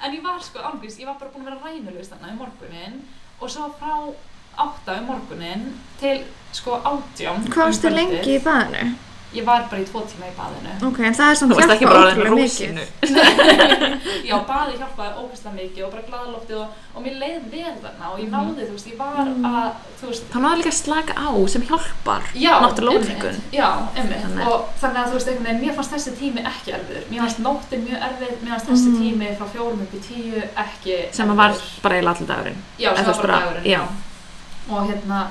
en ég var sko, ángvís, ég var bara búin að vera rænulust þarna um morgunin og svo frá 8 um morgunin til sko Hvað 18 um varstu kvöldið. lengi í baðinu? Ég var bara í tvo tíma í baðinu Ok, en það er (laughs) þú samt veist ekki hjálpa bara orðin ótrúlega rúsinu mikið. Já, baði hjálpaði ógeðslega mikið og bara glaðaloftið og, og mér leið vel þarna og ég náði, þú veist, ég var Mhm. að, þú veist, þá náðu líka að slaka á sem hjálpar já, náttúrulega ótryggun einmitt, Já, einmitt, Þannig. og þannig að þú veist, einhvern veginn, mér fannst þessi tími ekki erfiður, mér fannst nóttin mjög erfið, mér fannst þessi Mhm. tími frá fjórum upp í tíu ekki sem að var erfiður. bara eiginlega allir dagurinn Já, eða sem þú var veist bara bara- dagurinn, já. Og hérna,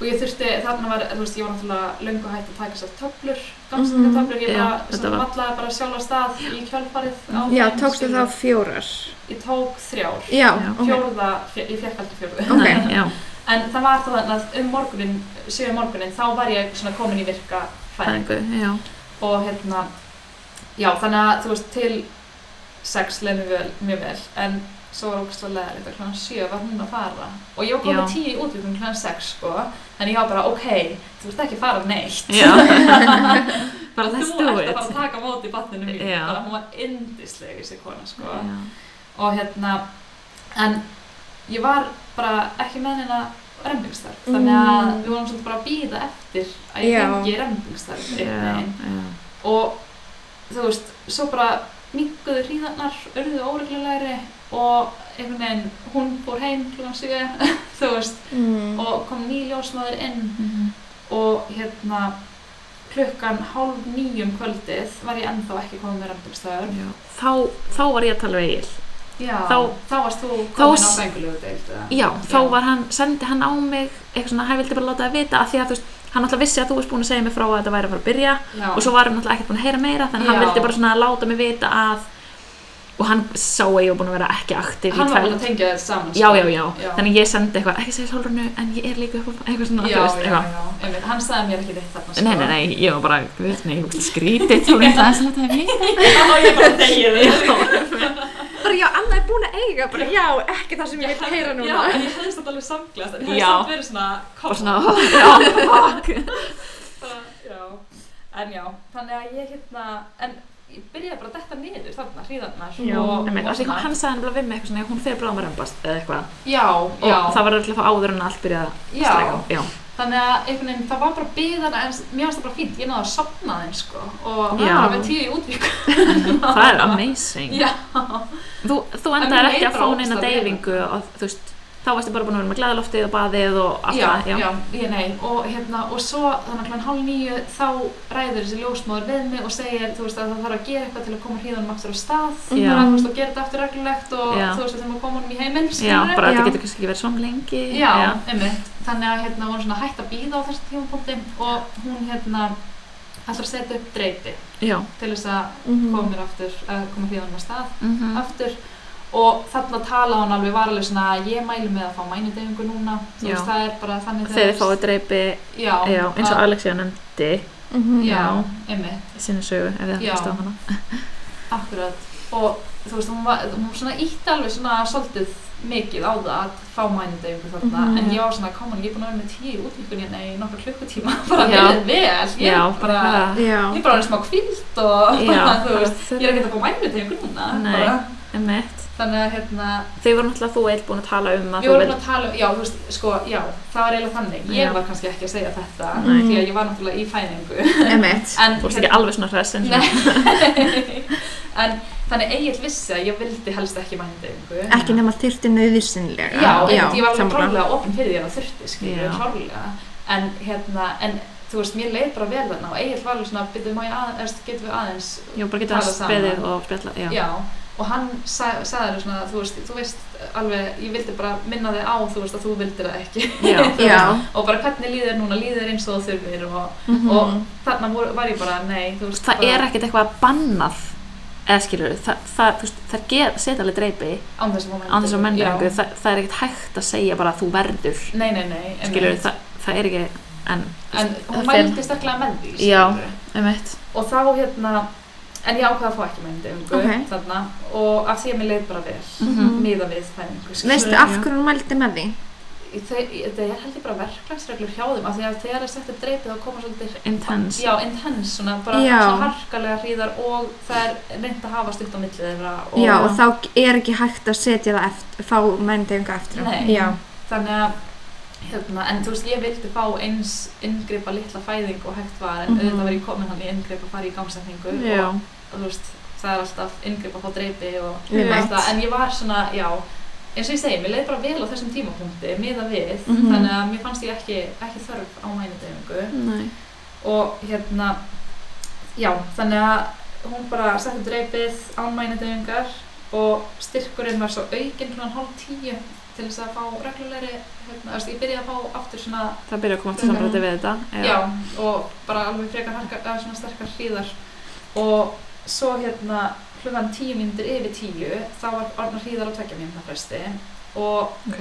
og ég þurfti, þarna var, þú veist, ég var náttúrulega löngu hægt að taka sér töflur, gangstingatöflur, ég Mhm. Já, bara, þetta svona, var- vallaði bara sjálf á stað í kjölfarið á Já, þeim, tókstu skilur. þá fjórar. Ég tók þrjár. Já, Já. ok. fjórða, fe- ég fekk aldrei fjórða Ok. Nei, já, en það var það að um morgunin, síðan morgunin þá var ég svona komin í virka fæðing fæðingu, (laughs) já, og hérna já þannig að þú veist til sex leið mér vel, mjög vel en svo var okkur svo leðar eitthvað klána 7 var hún að fara og ég Já. var komin 10 í útvíkum klána 6 sko þannig ég var bara ok, þú ert ekki að fara neitt já, bara Let's um (laughs) þú do ert it. að fara að taka á móti batninu mínu Já. Mm. bara hún var yndisleg þessi kona sko Já. og hérna en ég var bara ekki með neina rembingstarf þannig að Mm. við vorum svolítið bara að býða eftir að ég Já. fengi rembingstarf Já, já. og þú veist, svo bara minguðu hríðarnar, urðu óreglulegri og einhvern veginn hún fór heim klukkan 7 (laughs) þú veist, Mm. og kom ný ljósmaður inn Mhm. og hérna klukkan hálf nýjum kvöldið var ég ennþá ekki komið með remdingstöður Já. Þá, þá var ég að tala við Egil. Já, þá, Þá- varst þú þá komin á varst- fengulegu deild eða? Já, þá var hann, sendi hann á mig eitthvað svona, hann vildi bara láta það vita að því að þú veist, hann alltaf vissi að þú varst búin að segja mig frá að þetta væri að fara að byrja Já. og svo varum náttúrulega ekkert búin að heyra meira þannig að hann Já. vildi bara svona láta mig vita að og hann sá að ég var búin að vera ekki aktiv hann í var búin að kveld tengja þetta saman sko. já, já, já, Já. þannig að ég sendi eitthvað ekki segja Solrunu en ég er líka upp á eitthvað svona já, þú veist, já, eitthvað. já, einmitt, hann sagði mér ekki neitt þarna sko. Nei, nei, nei, ég var bara, við veist, nei, ég var skrítið þú veist aðeins að þetta (laughs) er mér (laughs) nei, ég bara degið Bara já, Anna er búin að eiga, bara já, ekki það sem ég vil heyra já, núna. en ég hefði þetta alveg samglast en ég hefði Já. samt verið svona og kom, svona, ó, já, fuck bara, já, en já þannig að ég hérna en ég byrjaði bara að detta niður þarna hríðarnar Já, og, Nei, og af því svona- hann sagði nefnilega við mig eitthvað svona, hún fer bráðum að rembast eða eitthvað já, og já, það var örugglega þá áður en allt byrjaði að Já. streika á. já, þannig að einhvern veginn það var bara byðana en mér fannst það bara fínt, ég náði að sopna þeim sko og það Já. var bara með tíu í útvíku það er amazing (laughs) já, þú, þú En endaðir mér ekki að leið bara fá neina ógeðslega vel. deyfingu og þú veist, þá varstu bara búin að vera með glæðaloftið og baðið og allt já, það já, ég nei og hérna, og svo þannig að klán hálf nýju þá ræður þessi ljósmáður við mig og segir, þú veist, að það þarf að gera eitthvað til að koma hríðanum aftur á stað Já. bara, þú veist, og gera þetta aftur reglulegt og Mhm. Já. þú veist, við þurfum að koma honum í heiminn já, skilurðu? bara Já. þetta getur kannski ekki verið svona lengi já, einmitt, þannig að hérna vorum svona hægt að býða á þessum tímapunkti og hún hérna ætlar að setja upp dreipi já, til þess að Mhm. koma mér aftur, að koma hríðanum á stað mhm, aftur og þarna talaði hún alveg varlega svona ég mælu með að fá mænudefingu núna þú Já. veist, það er bara þannig þegar þið fáið dreipi já, já, eins og að- Alexia nefndi Mhm. já, Já. einmitt í sinni sögu, ef þið Já. hlustu á hana Akkurat og þú veist, hún, var, hún svona ítti alveg svona svolítið mikið á það að fá mænudefingu þarna Mhm. en ég var svona, komin, ég er búin að vera með tíu útvíkunni nei, nokkra klukkutíma, (laughs) bara Já. verið vel ég já, er bara, það- Já. ég er bara eins og kvilt og (laughs) já, bara, (laughs) þú veist, það- ég er ekki að fá mænudefingu núna Nei. bara. einmitt. þannig að hérna, þau voru náttúrulega þú eitt búin að tala um að Við þú vorum vilt- að tala um, já, þú veist, sko, já, það var eiginlega þannig. Ég Já. var kannski ekki að segja þetta, Nei. því að ég var náttúrulega í fæðingu. Emmett. um- En, hérna- þú vorst ekki alveg svona hress en svona Nei, en þannig Egil vissi að ég vildi helst ekki mændingu. Ekki nema þyrti nöðisynlega. Já, já ég var alveg sammála. klárlega opinn fyrir því að það þurfti, Já. skiljum, klárlega. En, hérna, en, þú veist, mér leið bara vel þarna og Egil var alveg svona, byrjuðu má ég aðeins, getum við aðeins, já, bara getur Tala að saman. beðið og spjalla já, já. Og hann sa- sagði þér svona, þú veist, þú veist alveg, ég vildi bara minna þig á, þú veist, að þú vildir það ekki. (laughs) já. Já. og bara hvernig líður núna, líður eins og þú þurfir og, Mhm. og þarna voru, var ég bara, nei, þú veist það bara, er ekkert eitthvað bannað eða skilur, það, það, þú veist, það ger, setja alveg dreipi án þess að menningu, án þess að menna einhverju, það, það er ekkert hægt að segja bara að þú verður, nei, nei, nei, einmitt. skilur, það, það er ekki en, en hún það fer- mældi staklega með því Já. skilurðu. einmitt og þá hérna en ég ákvaði að fá ekki menningu Ok. þarna og af því að mér leið bara vel Mhm. miða við fæðingu skilurðu. Veistu af hverju hún mældi með því? Í þau- það er heldur bara verklagsreglur hjá þeim af því að þegar það settir dreipið þá koma svolítið intense, já, intense, svona bara Já. svona harkalega hríðar og það er reynd að hafa stutt á millið þeirra og Já, og þá er ekki hægt að setja það eftir, fá mændingu eftir. á. Nei. Já. þannig að hérna, en þú veist, ég vildi fá eins yngripa litla fæðing og hægt var en Mhm. auðvitað var ég komin hann í yngripa að fara í gangsetningu já, og, og þú veist, það er alltaf yngripa að fá dreipi og Við allt mætt. það, en ég var svona, já eins og ég segi, mér leið bara vel á þessum tímapunkti miða við, Mhm. þannig að mér fannst ég ekki, ekki þörf á mænudeyfingu nei og hérna já, þannig að hún bara setti dreipið án mænudegingar og styrkurinn var svo aukinn svona hálf tíu til þess að fá reglulegri hérna, þú veist, ég byrjaði að fá aftur svona það byrja að koma aftur samrætti við þetta Mhm. já, og bara alveg frekar harkar, eða svona sterkar hríðar og svo hérna hlugan tíu myndir yfir tíu þá var orðnar hríðar á tvekja mínúna fresti og ok,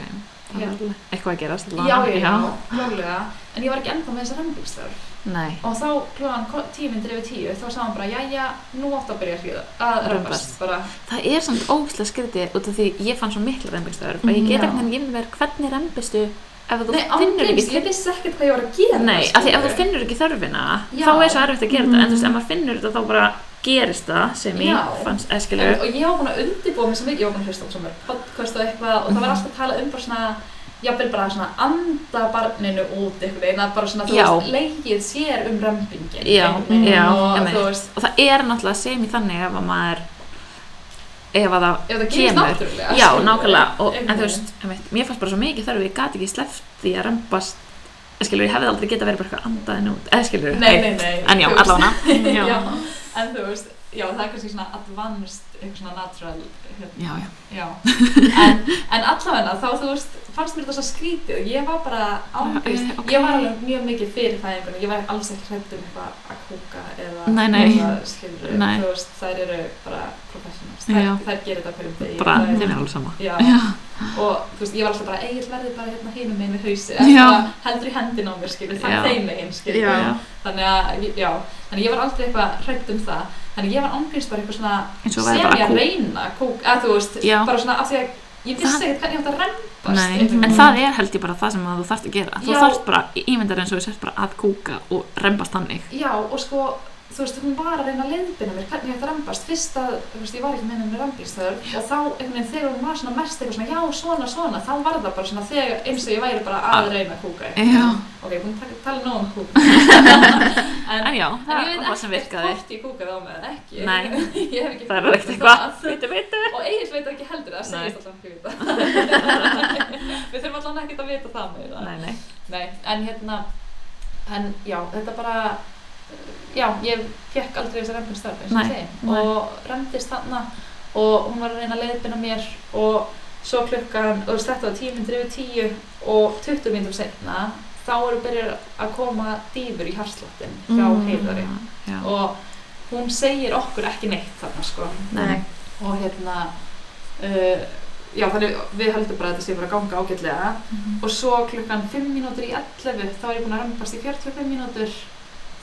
það Já. er eitthvað að gerast já, já, já, klálega en ég var ekki ennþá með þessar rembústörf nei, og þá klúðan tíu myndir yfir tíu þá sagði hann bara, jæja, nú átt að byrja að hríða að Rembast. römbast bara, það er samt ógæslega skrítið út af því ég fann svo mikla rembingstöður og ég get Já. ekki hann, ég myndi verið hvernig rembistu ef þú Nei, finnur ángríms, ekki ég vissi ekkert hvað ég var að gera Nei, sko. af því ef þú finnur ekki þörfina Já. Mm. þá er svo erfitt að gera þetta en þú veist, ef maður finnur þetta þá bara gerist það sem Já. ég fannst eskilu En- og ég var búin að undirbúa mig sem ég var búin að hlusta á svo mörg podcast og eitthvað og það var alltaf að tala um bara svona jafnvel bara svona anda barninu út einhvern veginn að bara svona þú Já. veist leikið sér um römbingin Já, já, og einmitt. þú veist (laughs) og það er náttúrulega sem í þannig ef að maður ef að það, ef það gerist Kemur. náttúrulega já, skilurðu, nákvæmlega og, en einhvern þú veist, einmitt, mér fannst bara svo mikið þörf ég gati ekki sleppt því að römbast skilur, ég hefði aldrei getað verið bara eitthvað andaðin út eða skilur, veginn. nei, nei, nei en já, þú veist. (laughs) allavega já. já. já, en þú veist já, það er kannski svona advanced eitthvað svona natural hérna, já, já Já, en, en allavega þá þú veist, fannst mér þetta svo skrítið og ég var bara ángust, Eh, ok. ég var alveg mjög mikið fyrir fæðingunni, ég var alls ekki hrædd um eitthvað að kúka eða Nei, nei. skilur, Nei. þú veist, þær eru bara professionals, þær, Já. þær gerir þetta á hverjum degi. bara, Þær- þeim er alveg sama Já, og þú veist, ég var alltaf bara, eigin verði bara hérna hinum meginn við hausi, Já. bara heldur í hendin á mér, skilur, Já. þann þeim meginn, skilur, Já. þannig að, já, þannig að ég var aldrei eitthvað hrædd um það, þannig að ég var ángríns bara eitthvað svona eins og sem væri ég bara að kú reyna að kúk, að þú veist, Já. bara svona af því að ég vissi Það- ekkert hvernig ég átt að rempast Nei, mhm. einhvern en veginn. það er held ég bara það sem að þú þarft að gera þú Já. þarft bara, ímyndar eins og þú sért bara að kúka og rembast þannig Já, og sko, þú veist, hún var að reyna að leiðbina mér hvernig ég átt að rempast fyrst að, þú veist, ég var ekki með henni rempilstöður og þá, einhvern veginn, þegar hún var svona mest eitthvað svona, já, svona, svona, þá var það bara svona þegar, eins og ég væri bara að reyna að kúka Ah. Já. Ok, hún taka- tala nóg (laughs) um kúka en já, En það ég var veit það sem ekkert virkaði hvort ég kúkaði á mig eða ekki Nei. (laughs) Ég hef ekki það er ekkert fundið eitthvað, það. veitu, veitu og Egil veit ekki heldur það Nei. segist alltaf ekki (laughs) vita við þurfum allan ekkert að vita það meira nei, nei, Nei, en hérna en já, þetta bara já, ég fekk aldrei þessi rempin störf eins og Nei, ég segi nei. og rempist þarna og hún var að reyna að leiðbina mér og svo klukkan, og þú veist, þetta var tíu myndir yfir tíu og 20 myndir setna þá eru byrjar að koma dýfur í harslottin hjá Mm. Mm. heiðari já, og hún segir okkur ekki neitt þarna sko nei, og hérna uh, já þannig við höldum bara að þetta sé bara að ganga ágætlega Mhm. og svo klukkan 5 mínútur í 11 þá er ég búin að römbast í 45 mínútur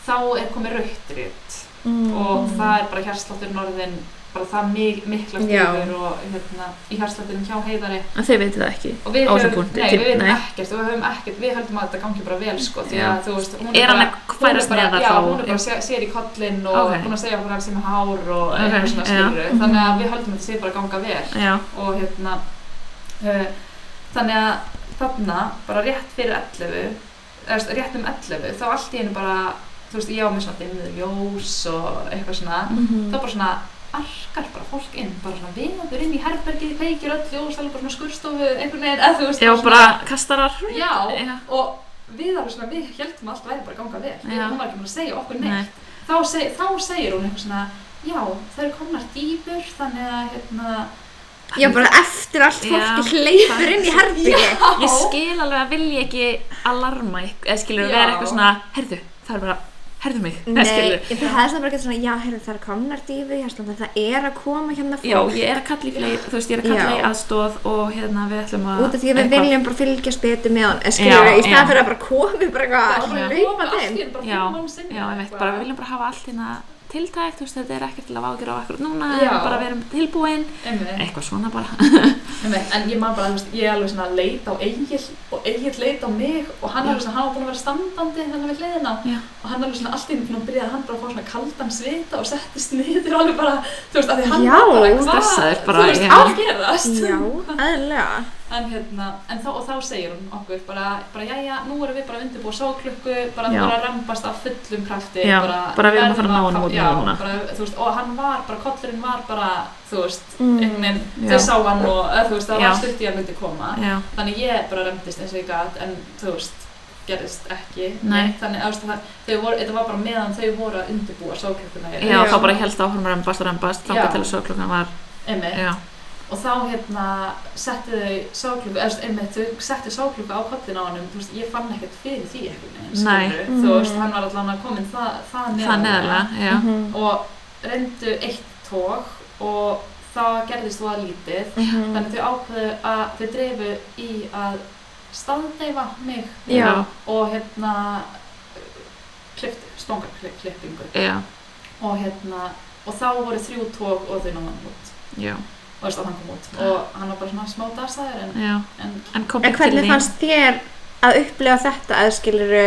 þá er komið rautrið Mm. og það er bara hérslátturinn orðin bara það mi- mikla Já. stífur og hérna í hérslátturinn hjá heiðari en þið veitu það ekki og við Á þessum höfum, punkti, nei, til- við veitum nei. ekkert og við höfum ekkert, við höldum að þetta gangi bara vel sko, því Já. að þú veist hún er hann bara- að hún er færast bara- neðar já, þá hún er bara sér, sér í kollin og Ok. búin að segja okkur hann sem er hár og Ok, eitthvað svona já. Mhm. skilur þannig að við höldum að þetta sé bara að ganga vel já, og hérna uh, þannig að þarna bara rétt fyrir 11 eða þú veist, rétt um 11 þá allt í einu bara þú veist ég á með svona dimmið ljós og eitthvað svona Mhm. þá bara svona arkar bara fólk inn bara svona vinuður inn í herbergið kveikir öll ljós alveg bara svona skurstofu einhvern veginn eða þú veist já, svona- bara kastarar já, já, og við alveg svona, við heldum að allt væri bara að ganga vel, við, Já. hún var ekki búin að segja okkur Nei. neitt þá, seg, þá segir hún eitthvað svona já, það eru komnar dýfur þannig að hérna, Já, bara eftir allt fólki Já. hleypur inn í herbyggi. (laughs) ég skil alveg að vilja ekki alarma ykkur, eða skilur Já. vera eitthvað svona herðu, það er bara, herðu mig eða Nei, skilurðu. ég- það er svona bara eitthvað svona, já, heyrðu, það er komnar dýfið, já, svona, það er að koma hérna fólk. já, ég er að kalla í fleiri, þú veist, ég er að kalla Já. í aðstóð og hérna við ætlum að Út af því að við eitthvað- viljum bara fylgjast betur með hann, skiljum Já, við, í já. stað fyrir að bara komi bara það eitthvað að var bara að koma hlaupa allt í þeim. enn bara já, fyrir mánu sinni já, ég veit, bara við viljum bara hafa allt hérna tiltækt, þú veist, þetta er ekkert til að vágjur á akkur núna, Já. bara við erum tilbúin einmitt, eitthvað svona bara einmitt, en ég man bara, þú veist, ég er alveg svona leit á Egil og Egil leit á mig og hann alveg svona, hann var búin að vera standandi þannig við hliðina Já. og hann alveg svona allt í enn byrjaði hann bara að fá svona kaldan svita og settist niður og alveg bara, þú veist, að því hann Já, var bara stressaður bara, þú veist, já. á að gerast Já, aðlega. en hérna, en þá, og þá segir hún okkur bara, bara jæja, nú erum við bara undirbúið sóklukku, bara Já. þú voru að rambast af fullum krafti, Já, bara við erum að fara að verðum ná honum út já, núna. bara, þú veist, og hann var, bara kollurinn var bara, þú veist, Mm, einhvern veginn, já. þau sá hann og, eða, þú veist, það Já. var stutt í að myndi koma já, þannig ég bara remdist eins og ég gat en þú veist, gerist ekki Nei. þannig, þú veist, það, þau voru, þetta var bara meðan þau voru að undirbúa sóklukkuna já, Já. þá bara helst áfram að rembast og rembast, Já. þangað til að sögklokkan var einmitt, já, og þá hérna settu þau sáklúku, eða þú veist, einmitt þau settu sáklúku á kollin á honum, þú veist, ég fann ekkert fyrir því einhvern veginn, Nei. skilurðu. þú veist, Mm. hann var allan að komin það, það það neðarlega, já Mhm, og reyndu eitt tók og það gerðist þú að lítið mhm. þannig þau ákveðu að þau dreifu í að staðdeifa mig Já. og hérna klift, spongarklippingu já, og hérna, og þá voru þrjú tók og þau náðan út já, og veist að hann kom út og hann var bara svona smá dasaður en, já en en kom En bara til hvernig þín fannst þér að upplifa þetta að skilur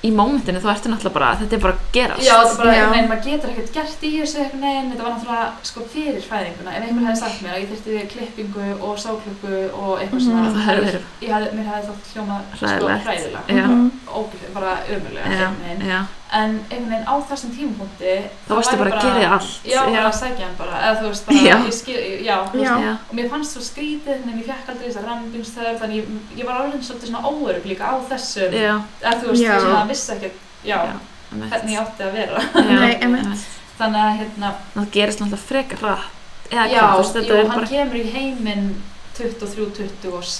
í mómentinu þú ertu náttúrulega bara þetta er bara að gerast Já, þetta er bara, Já. einhvern veginn, maður getur ekkert gert í þessu einhvern veginn, þetta var náttúrulega sko fyrir fæðinguna, ef einhver hefði sagt mér að ég þyrfti klippingu og sáklöku og eitthvað svona, Mm, það hefur verið ég hefði, mér hefði þátt hljóma sko Hræðilegt. hræðilega, Já. Mhm. ógæð, bara ömulega já, einhvern veginn, já. en einhvern veginn á þessum tímapunkti, þá varstu bara að gera þig allt Já, bara já, að sækja hann bara, eða þú veist, bara, Já. ég skil, já, Já. þú veist, já. og mér fannst svo skrítið, en ég fekk aldrei þessar rannbílstöður, þannig ég, ég var alveg svolítið svona óörug líka á þessum, já. eða þú veist, Já. ég svona vissi ekkert, já, Já. einmitt. hvernig ég átti að vera, (laughs) Já, Nei, einmitt. þannig að, hérna, það gerist náttúrulega frekar rætt eða já, hvað, þú veist, jú, þetta er hann bara kemur í heiminn 23-26,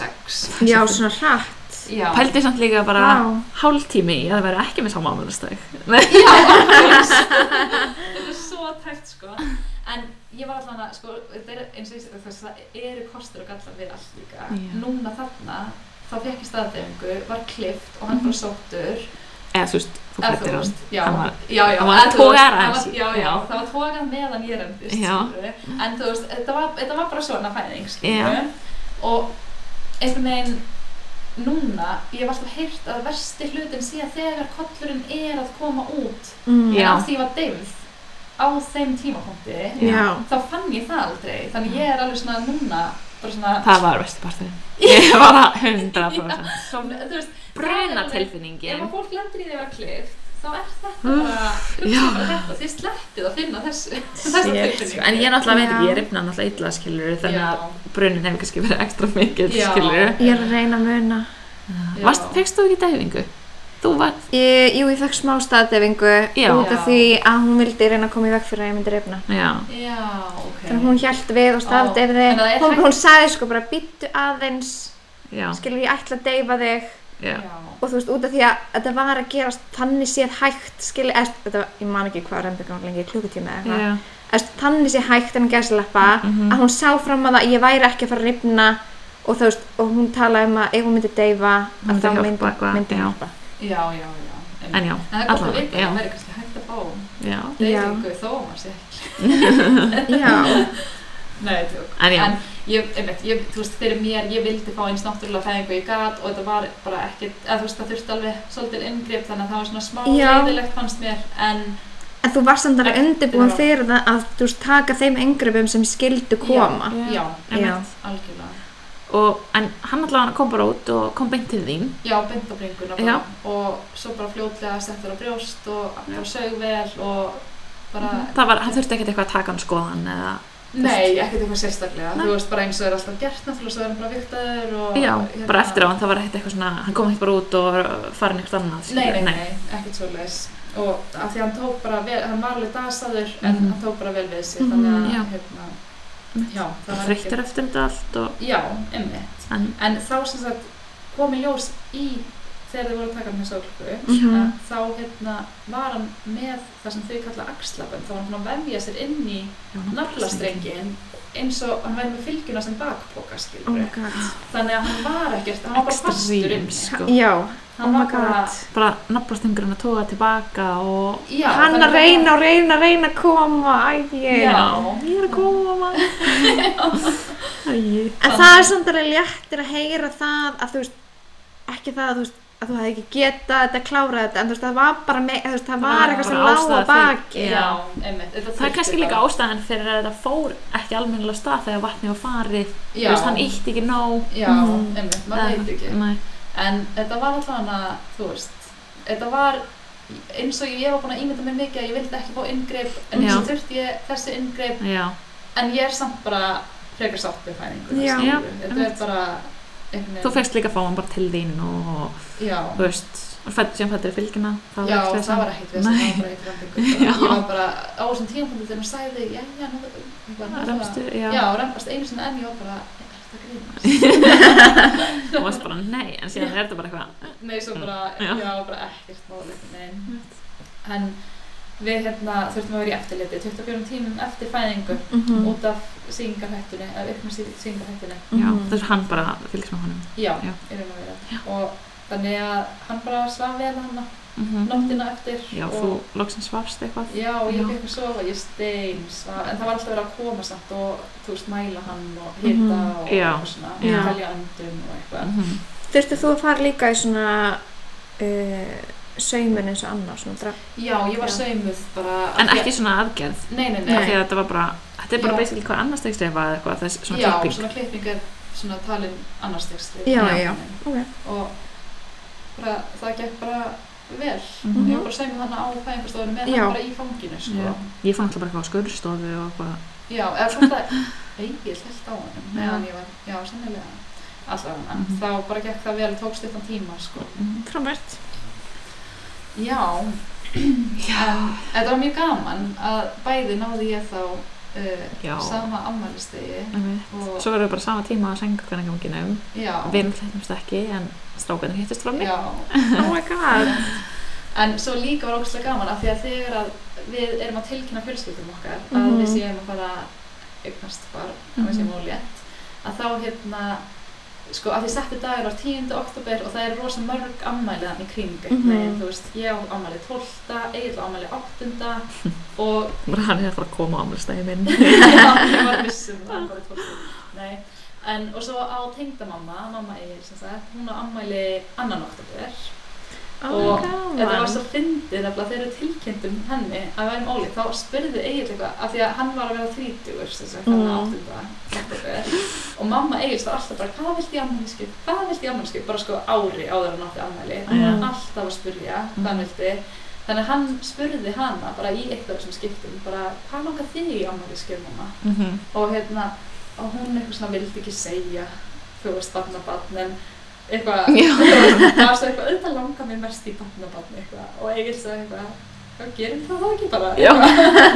já svona hratt já, (laughs) pældi samt líka bara Vá. hálftími í að það væri ekki með sama ámælistag já, þetta er svo tækt, sko, en ég var allan að, sko, þetta er, eins og ég segi, þess að það eru kostur og gallar við allt líka, Já. núna þarna, þá fekk ég staðdæfingu, var klift og hann bara sóttur, eða þú veist, þú Eða klættir hann veist, já, Hann var- já, já, hann var eða þú togað veist, aðeins hann í- var- já, já, já. það var tókað meðan ég rendist Já. skilurðu. en þú veist, þetta var, þetta var bara svona fæðing Já. skilurðu. og einhvern veginn núna, ég hef alltaf heyrt að versti hlutin sé þegar kollurinn er að koma út mm. Já. en af því ég var deyfð á þeim tímapunkti já þá fann ég það aldrei þannig ég er alveg svona núna bara svona, það var verstu (laughs) parturinn ég var að 100% þú veist, bruna ef tilfinningin að fólk lendir í því að vera klift þá er þetta bara, hugsa bara þetta þið sleppið að finna þessu (laughs) þessa tilfinningu. en ég náttúrulega veit ekki, Já. ég ripna náttúrulega illa skilur þannig Já. að brunin hefur kannski verið ekstra mikið Já. skilur ég er að reyna að muna Já. fegst þú ekki dæfingu? þú var, ég, jú ég fekk smá staðdefingu Já. út af Já. því að hún vildi reyna að koma í veg fyrir að ég myndi reyna já, já, ok þannig að hún hjælt við og staðdefði Þannig að það er hún, hægt- hún sagði sko bara býttu aðeins já, skilur ég ætla að deyfa þig já. og þú veist út af því að þetta var að gerast þannig séð hægt skilur, eða, þetta, var- ég man ekki hvað reyndbyggjum var lengi klukkutíma eða eitthvað já. Eða, þannig sé hægt en gæsleppa Mhm. að hún sá fram að það að ég væri ekki að fara að ripna og þú veist, og hún talaði um að ef hún myndi deyfa Hún að myndi þá hjálpa myndi, eitthvað, myndi já. hjálpa já, já, já en já, En það er gott að allavega, vita, já. það verður kannski hægt að fá já deyfingu þó að maður sé ekki. já, Nei, tjók. en já, En ég, einmitt, ég, þú veist, fyrir mér, ég vildi fá eins náttúrulega fæðingu ég gat og þetta var bara ekkert, eða þú veist, það þurfti alveg svolítið inngrip þannig að það var svona smá Já. reyðilegt fannst mér, en en þú varst samt alveg Ekki, undirbúin já. fyrir það að þú veist, taka þeim engripum sem skildu koma Já. já, einmitt. algjörlega. og, en hann allavega kom bara út og kom beint til þín Já, beint á bringuna bara Já. og svo bara fljótlega settur á brjóst og bara sög vel og bara, það var, hann þurfti ekkert eitthvað að taka hann skoðan eða, nei, ekkert eitthvað sérstaklega, Mhm. Nei. þú veist, bara eins og er alltaf gert náttúrulega, svo er hann bara viktaður og hérna já, bara eftir á hann, það var ekkert eitthvað svona hann kom ekkert bara út og var farin eitthvað annað Nei, skilur. nei, nei, ekkert svo leis og af því hann tók bara vel, hann var alveg dasaður en Mhm. hann tók bara vel við sig Mhm, þannig að, já. hérna, Einmitt. já, það bara var þreyttur eftir þetta allt og, Já, einmitt en, en þá sem sagt kom í ljós í þegar þau voru að taka hann þessu álku Mhm. að þá hérna var hann með það sem þau kalla axlabönd þá var hann búinn að vefja sér inn í já, naflastrengin eins og hann væri með fylgjuna sem bakpoka oh skilur my god þannig að hann var ekkert, hann var bara fastur ekstrím inni sko. já, oh hann my var bara god bara naflastengurinn að toga tilbaka og Já, hann þannig að reyna og reyna að reyna að koma ægir Já. ég er að koma (laughs) æi En það er samt alveg léttir að heyra það að þú veist, ekki það að þú veist, að þú hefði ekki getað þetta, klárað þetta, en þú veist, það var bara, me, þú veist, það Það var var eitthvað sem bara lág ástæða að baki. fyrir- Já, einmitt þetta Það er þurfti kannski líka bara- ástæðan fyrir að þetta fór ekki almennilega af stað þegar vatni var farið. Þú Já. veist, hann ítti ekki nóg. Já, Mhm. einmitt, maður veit ekki Nei. En þetta var allavega, þú veist, þetta var eins og ég var búin að ímynda mér mikið að ég vildi ekki fá inngrip en Já. þess þurfti ég þessi inngrip Já, en ég er samt bara frekar sátt við fæðingu Já. Já, þetta er einmitt. bara einhvern þú fegst líka að fá hann bara til þín og, já, þú veist, og fætt sem fættir fylgina. já ekki vesen. það var ekkert við það var bara eitt randingur (laughs) Já. ég var bara á þessum tímapunkti þegar hún sagði já, já, nú, ég var náttúrulega- Remstu, já. já, rempast einu sinni en ég var bara er þetta grínast? Þú varst bara nei, en síðan er þetta bara eitthvað. Nei, svo bara, (laughs) Já. já, bara ekkert máli nein. en við hérna þurftum að vera í eftirliti 24 tímum eftir fæðingu Mm. Mhm. út af sýningarhættunni eða upp með sýningarhættunni Já, Mhm. þess að hann bara fylgst með honum. já, Já. í raun og vera og þannig að hann bara svaf vel hann Mhm. nóttina eftir Já, og, þú loksins svafst eitthvað. já, og ég Já. fekk að sofa, ég stein svaf, en það var alltaf verið að koma samt og þú veist, mæla hann og hita Mhm. og Já. eitthvað svona, Já. telja öndum og eitthvað Mhm. Þurftu þú að fara líka í svona uh, saumun eins og annars, svona draf? Já, ég var Já. saumuð bara af En því að- ekki svona aðgerð Nei, nei, nei, af því að þetta var bara, þetta er bara Já. basically hvað annars tegst eða eitthvað, þess svona Já, klipping svona klipping er svona talin annars tekst Já, Já. já, ok. og bara, það gekk bara vel Mhm. ég var bara sæmið þannig á fæðingarstofunum með Já. hann bara í fanginu sko. Já. já. Ég fann alltaf bara eitthvað á skurðstofu og eitthvað eða svona það eigið held á hann Já. meðan ég var, já, sennilega alltaf hann, Mhm. þá bara gekk það vel tók stuttan tíma, sko Frábært. (laughs) já, en þetta var mjög gaman að bæði náði ég þá Já. uh, sama ammælistegi Einmitt. og Svo verður við bara sama tíma að senga hvernig ganginum já, Við erum hlættumst ekki en strákarnir hittist frammi já Oh my god. En svo líka var ógustlega gaman af því að þegar að við erum að tilkynna fjölskyldum okkar að Mhm. við séum að fara eignast barn, að við séum ólétt að þá hérna sko að því setti dagur var 10. oktober og það er rosa mörg ammæli þannig í kring mm Mhm. þú veist, ég á ammæli 12. Egil á ammæli 8. (laughs) og (laughs) Bara hann er að fara að koma á amlistæði minn Já, ég var vissum það var bara tólf Nei, en og svo á tengdamamma, mamma Egil sem sagt, hún á ammæli annan oktober Oh Og my god. Þetta var svo fyndið nefnilega þegar við tilkynntum henni að við værum ólíkt, þá spurði Egil eitthvað af því að hann var að vera 30 þess að hann Mm. áttunda oktober. og mamma Egil var alltaf bara hvað vilt ég ammælisku, hvað vilt ég ammælisku bara sko ári áður en átti ammæli Mm. alltaf að spurja Mm. hvað hann vildi þannig að hann spurði hana bara í eitt af þessum skiptum bara hvað langar þig í ammælisku mamma og hérna og hún eitthvað svona vildi ekki segja þú veist barnabarn en eitthvað Já. (laughs) það var svo eitthvað auðvitað langar mér mest í barnabarn eitthvað og Egil sagði eitthvað hvað gerum það þá ekki bara (laughs) Já,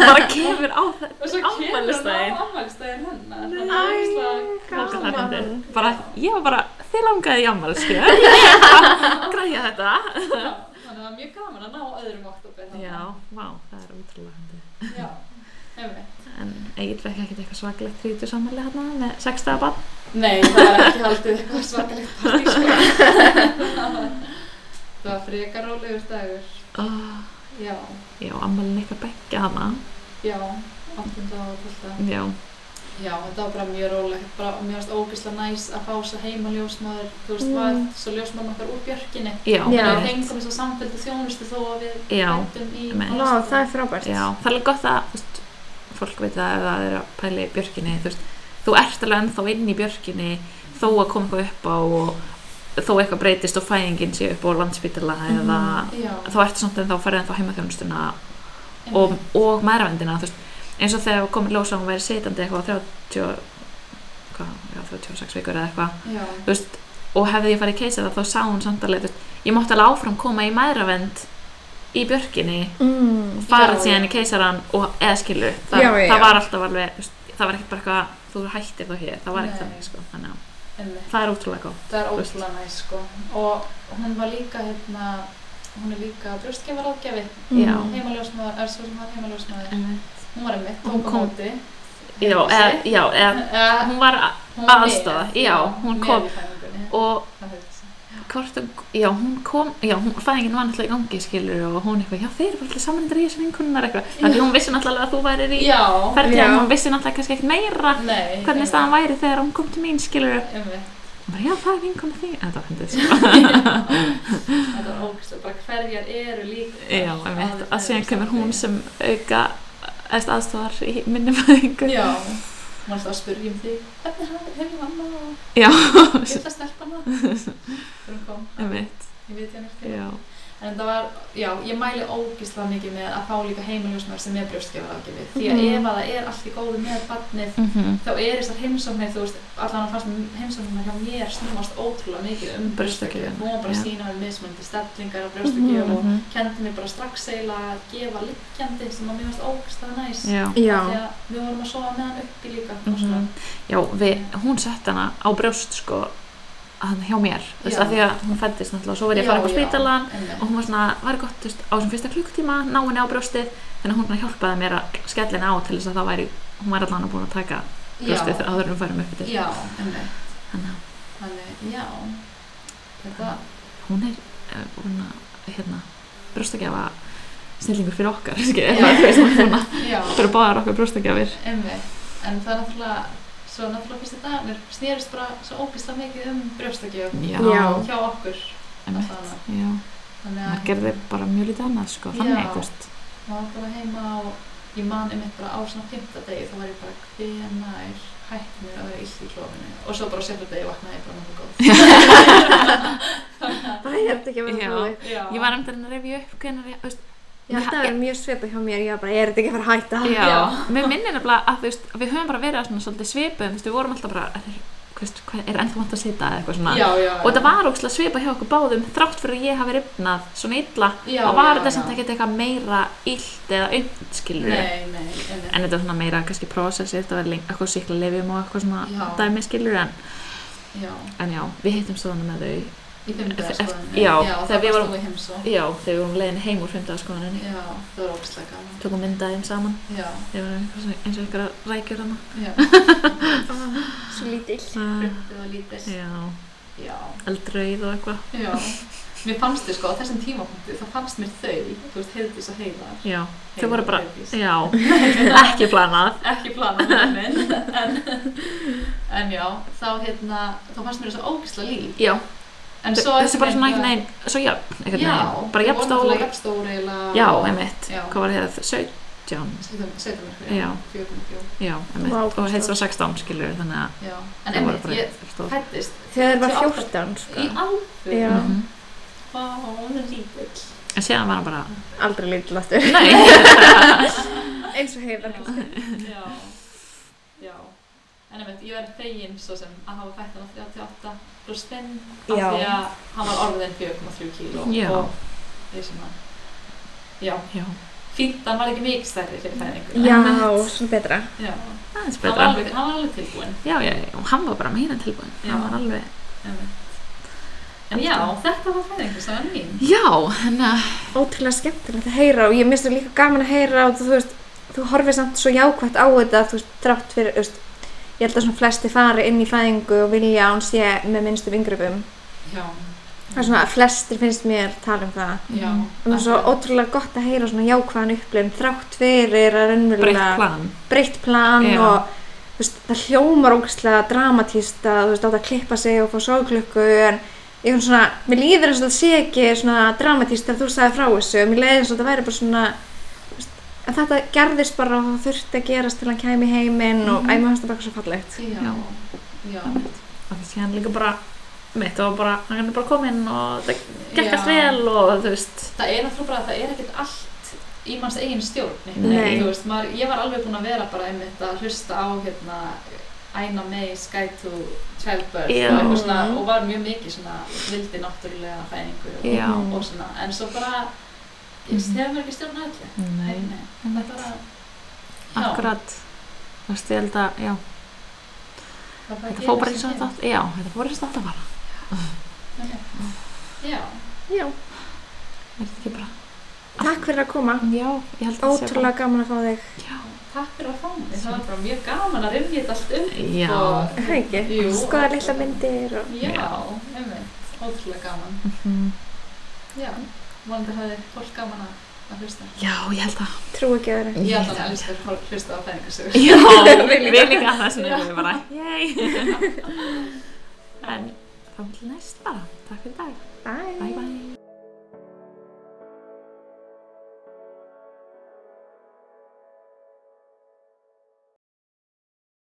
bara kemur á þetta og svo kemur afmælisdaginn. hann á ammælstæðin Æ, hennar þannig að það var Ógeðslega gaman. fyndið. bara, Ég var bara, þið langaði í (laughs) ammalskja Græja þetta ógeðslega- Já, þannig að það var mjög gaman að ná öðrum oktober þarna. Já, vá, það er útrúlega hendi já, einmitt. En Egil fekk ekkert eitthvað svakalegt þrítu samanlega hérna með sextaða bann Nei, það var ekki haldið eitthvað svakalegt partí (laughs) sko. það var frekar rólegur dagur oh, já, Já, ammalin eitthvað bekkja hana já, 8. og 12. Já, Já, þetta var bara mjög rólegt, bara mér varst ógeðslega næs að fá svo heima ljósmaður, þú veist, Mm. mm. var svo ljósmaður okkar úr björkinni. já, Þannig að einmitt. við fengum þess að samfélta þjónustu þó að við Já, hættum í einmitt. Vá, það er frábært. Já, það er alveg gott að þú veist, fólk veit það ef það er að pæli björkinni þú, veist, þú ert alveg ennþá inn í björkinni þó að koma eitthvað upp á og þó eitthvað breytist og fæðingin sé upp á landspítala eða Já, þá ertu samt ennþá farið ennþá heimaþjónustuna einmitt. og, og mæravendina þú veist, eins og þegar komið ljósa að hún væri sitandi eitthvað á 30 hvað, já, 36 vikur eða eitthvað Já, þú veist, og hefði ég farið keisað þá sá hún samt alveg þú veist, ég mátti alveg áfram koma í mæravend í björkinni Mm. farið Já, síðan já. í keisaran og eða skilu það, Já, já, já. það var alltaf alveg þú veist, það var ekkert bara eitthvað þú hættir þá hér það var Nei. ekkert þannig sko þannig að einmitt. það er ótrúlega góð Það er Þú veist. ótrúlega næs, sko. Og hún var líka, hérna, hún er líka brjóstgefaráðgjafi, Já. heima ljósmaður, er svo sem var heima ljósmaður. Hún var einmitt, Hún tók á kom- móti. já, heima eða, sig. já eða, Eh, (laughs) hún var a- hún með, aðstoða, já, hún með kom. í fæðingunni. og Það höfði sig. hvort hún, já hún kom já hún fæðingin var náttúrulega í gangi skilur og hún eitthvað já þeir eru bara allir samanendur í þessu vinkunnar eitthvað þannig að hún vissi náttúrulega að þú værir í Já, ferðlega Já. hún vissi náttúrulega kannski ekkert meira nei. hvernig einmitt, staðan væri þegar hún kom til mín skilur Einmitt. (laughs) bara já það er vinkona þín en það var hendur (laughs) sko Þetta er ógæslega, bara hverjar eru líka Já, einmitt, að síðan kemur hún sem auka eðst aðstofar í minni fæðingu. Já, hún er alltaf að spyrja um því Hvernig hafi- hefur mamma og (laughs) Já, litla stelpana Þegar hún kom, einmitt, ég veit hérna ekki já, En það var, já, ég mæli ógæslega mikið með að fá líka heimaljósmaður sem er brjóstgefar ágefið Því að Mhm. ef að það er allt í góðu með barnið mhm, þá er þessar heimsóknir, þú veist, allan að fannst heimsóknir hjá mér snúast ótrúlega mikið um Brjóstagjöfina, brjóstagjöf. Hún var bara já. að sína með mismunandi stellingar á brjóstagjöf Mhm. og mhm, kendi mér bara strax eiginlega að gefa liggjandi sem að mér varst ógæslega næs já. Já. þegar við vorum að sofa með hann uppi líka og svona. mhm. Já, við, hún sett hana á brjóst, sko, hann hjá mér, þú veist, Já. af því að hún fættist náttúrulega, svo verið ég að fara upp á Já, já, spítalan einmitt. og hún var svona, var gott, þú veist, á þessum fyrsta klukkutíma, ná henni á brjóstið, þannig að hún svona hjálpaði mér að skella henni á til þess að það væri, hún var allan búin að taka brjóstið já, áður en við færum upp til. já, einmitt. Þannig að þannig, já þetta, hún er eh, hún að, hérna, brjóstakjafa snillingur fyrir okkar skilur, Já. það, þú veist, hún er svona já, fyrir báðar okkar brjóstagjafir einmitt en það er náttúrulega svo náttúrulega fyrstu dagarnir snýrist bara svo ógislega mikið um brjóstakjöf Já, Já. hjá okkur einmitt, Þannig já. þannig Maður að gerði bara mjög lítið annað, sko, Já. þannig ekkert. maður var bara heima og ég man einmitt bara á svona fymta degi þá var ég bara hvenær hætti mér að vera illt í klófinu og svo bara á sjötta degi vaknaði ég bara náttúrulega Það er þetta ekki að Já. vera búið. góð Já. Ég var einmitt að reyna að revja upp hvernig, þú veist, Ég held að það Já. var mjög svipað hjá mér, ég var bara, er þetta ekki að fara að hætta? já, Ah, Já. mér minnir nefnilega að, þú veist, við höfum bara verið á svona svolítið svipuðum, þú veist, við vorum alltaf bara, er, þú veist, hvað er ennþá vant að sita eða eitthvað svona. já, já, Og þetta var ógslag svipað hjá okkur báðum, þrátt fyrir að ég hafi rifnað svona illa, já, þá var já, þetta já. samt ekkert eitthvað meira illt eða umt, skilur Nei, nei, einmitt En þetta var svona meira kannski prósessi, þetta var lengi, eitthvað síkla og eitthvað svona Já. dæmi, skilur en, Já, en já, við hittum svona með þau í fymta Eftir- skoðinu já, já þegar það við var vorum- stóð í heimsó Já, þegar við vorum leiðin heim úr fymtagaskoðaninni Já, það var ógislega gaman Tökum myndaðið þeim saman Já, Þeir voru einhver- eins og einhverja rækjur hana já, Ah, Svo lítill. fruktið var lítið Já, Já, eldrauð og eitthvað já Mér fannst þau sko á þessum tímapunktu þá fannst mér þau, þú veist, heiðdís og heiðar Já, þau Heiðar voru og bara, Heiðdís. já, (laughs) ekki planað (laughs) ekki planað með minn en, en já, þá hérna þá fannst mér þessu ógisla líf Já, en svo hérna- þessi bara svona einhvern veginn, svo jafn, einhvern já, veginn Bara jafn stóra stór, jafn stóra eiginlega já, og- einmitt Já. Hvað var það, 17? Sveitam- sveitamyrkur, Já. fjögur komma fjögur, Já, einmitt, Vá, og hvað heitt var 16 skilur þannig að já. það en voru einmitt, bara ég stór fættist Þegar það var 28. 14, í sko. alveg Já. Mhm. Vá, hún er lítill En síðan var hann (laughs) bara, Aldrei lítill aftur. nei (laughs) Eins og hefur. já, já en einmitt, ég verði fegin svo sem að hafa fætt hann á 38 pluss 5 af Já. því að hann var orðin 4,3 kíló Já. og ég sem að já, (laughs) Já, fínt, hann var ekki mikið stærri fyrir fæðingu Já, Einmitt. svona betra. já. það er Hann, var betra alveg, hann var alveg tilbúin Já, já, já, og hann var bara meira en tilbúin Já. Hann var alveg en já, þetta var fæðingu sem var mín Já, þannig að Ótrúlega skemmtilegt að heyra og ég minnst það líka gaman að heyra og þú veist, þú horfir samt svo jákvæmt á þetta, þú veist, drátt fyrir, þú veist, ég held að svona flesti fari inn í fæðingu og vilja að hún sé með minnstum yngrefum. já, Það er svona að flestir finnst mér tala um það. já Og það er svo ótrúlega gott að heyra svona jákvæðan upplifun þrátt fyrir að breytt raunverulega plan breytt plan Já. og þú veist, það hljómar ógæslega dramatíst að þú veist, átt að klippa sig og fá sóglöku en ég finnst svona, mér líður eins og það sé ekki svona dramatíst þegar þú sagði frá þessu og mér leiði eins og það væri bara svona þú veist, en þetta gerðist bara og það þurfti að gerast til hann kæmi í heiminn og Mhm. æmið hans það bara svo fallegt já, já, Og þessi hann líka bara mitt og bara, hann er bara kominn og það gekk Já. allt vel og þú veist það er náttúrulega bara að það er ekkert allt í manns eigin stjórn einhvern Nei. veginn, þú veist, maður, ég var alveg búin að vera bara einmitt að hlusta á hérna Æna May, Sky to Childbirth Já. og, eitthvað svona, og var mjög mikið svona vildi náttúrulega fæðingu og, Já, Mhm. og svona, en svo bara Mm. ég Mhm. hefur maður ekki stjórn að öllu nei, Nei, nei, það er bara Já, akkurat Þú veist, ég held að, já, það bara þetta gerist fór bara sem eins og þetta gerist. átt- Já, þetta fór eins og þetta átt að fara Já, Já, Er þetta ekki bara takk fyrir að koma Mm, Já, ég held að þetta sé bara- Ótrúlega gaman að fá þig Já, takk fyrir að fá mig það var bara mjög gaman að rifja þetta allt upp Já. og, Er það ekki, Jú. skoða litla myndir og... Já, Já. einmitt, ótrúlega gaman mhm. Já, vonandi hafði fólk gaman að, að hlusta já ég held að trú ekki öðru Ég ætla að hlusta, fólk hlusta á fæðingarsögur (laughs) Já, Við líka. við líka það sem við bara Yay En þá til næst bara Takk fyrir í dag, Bye bye bye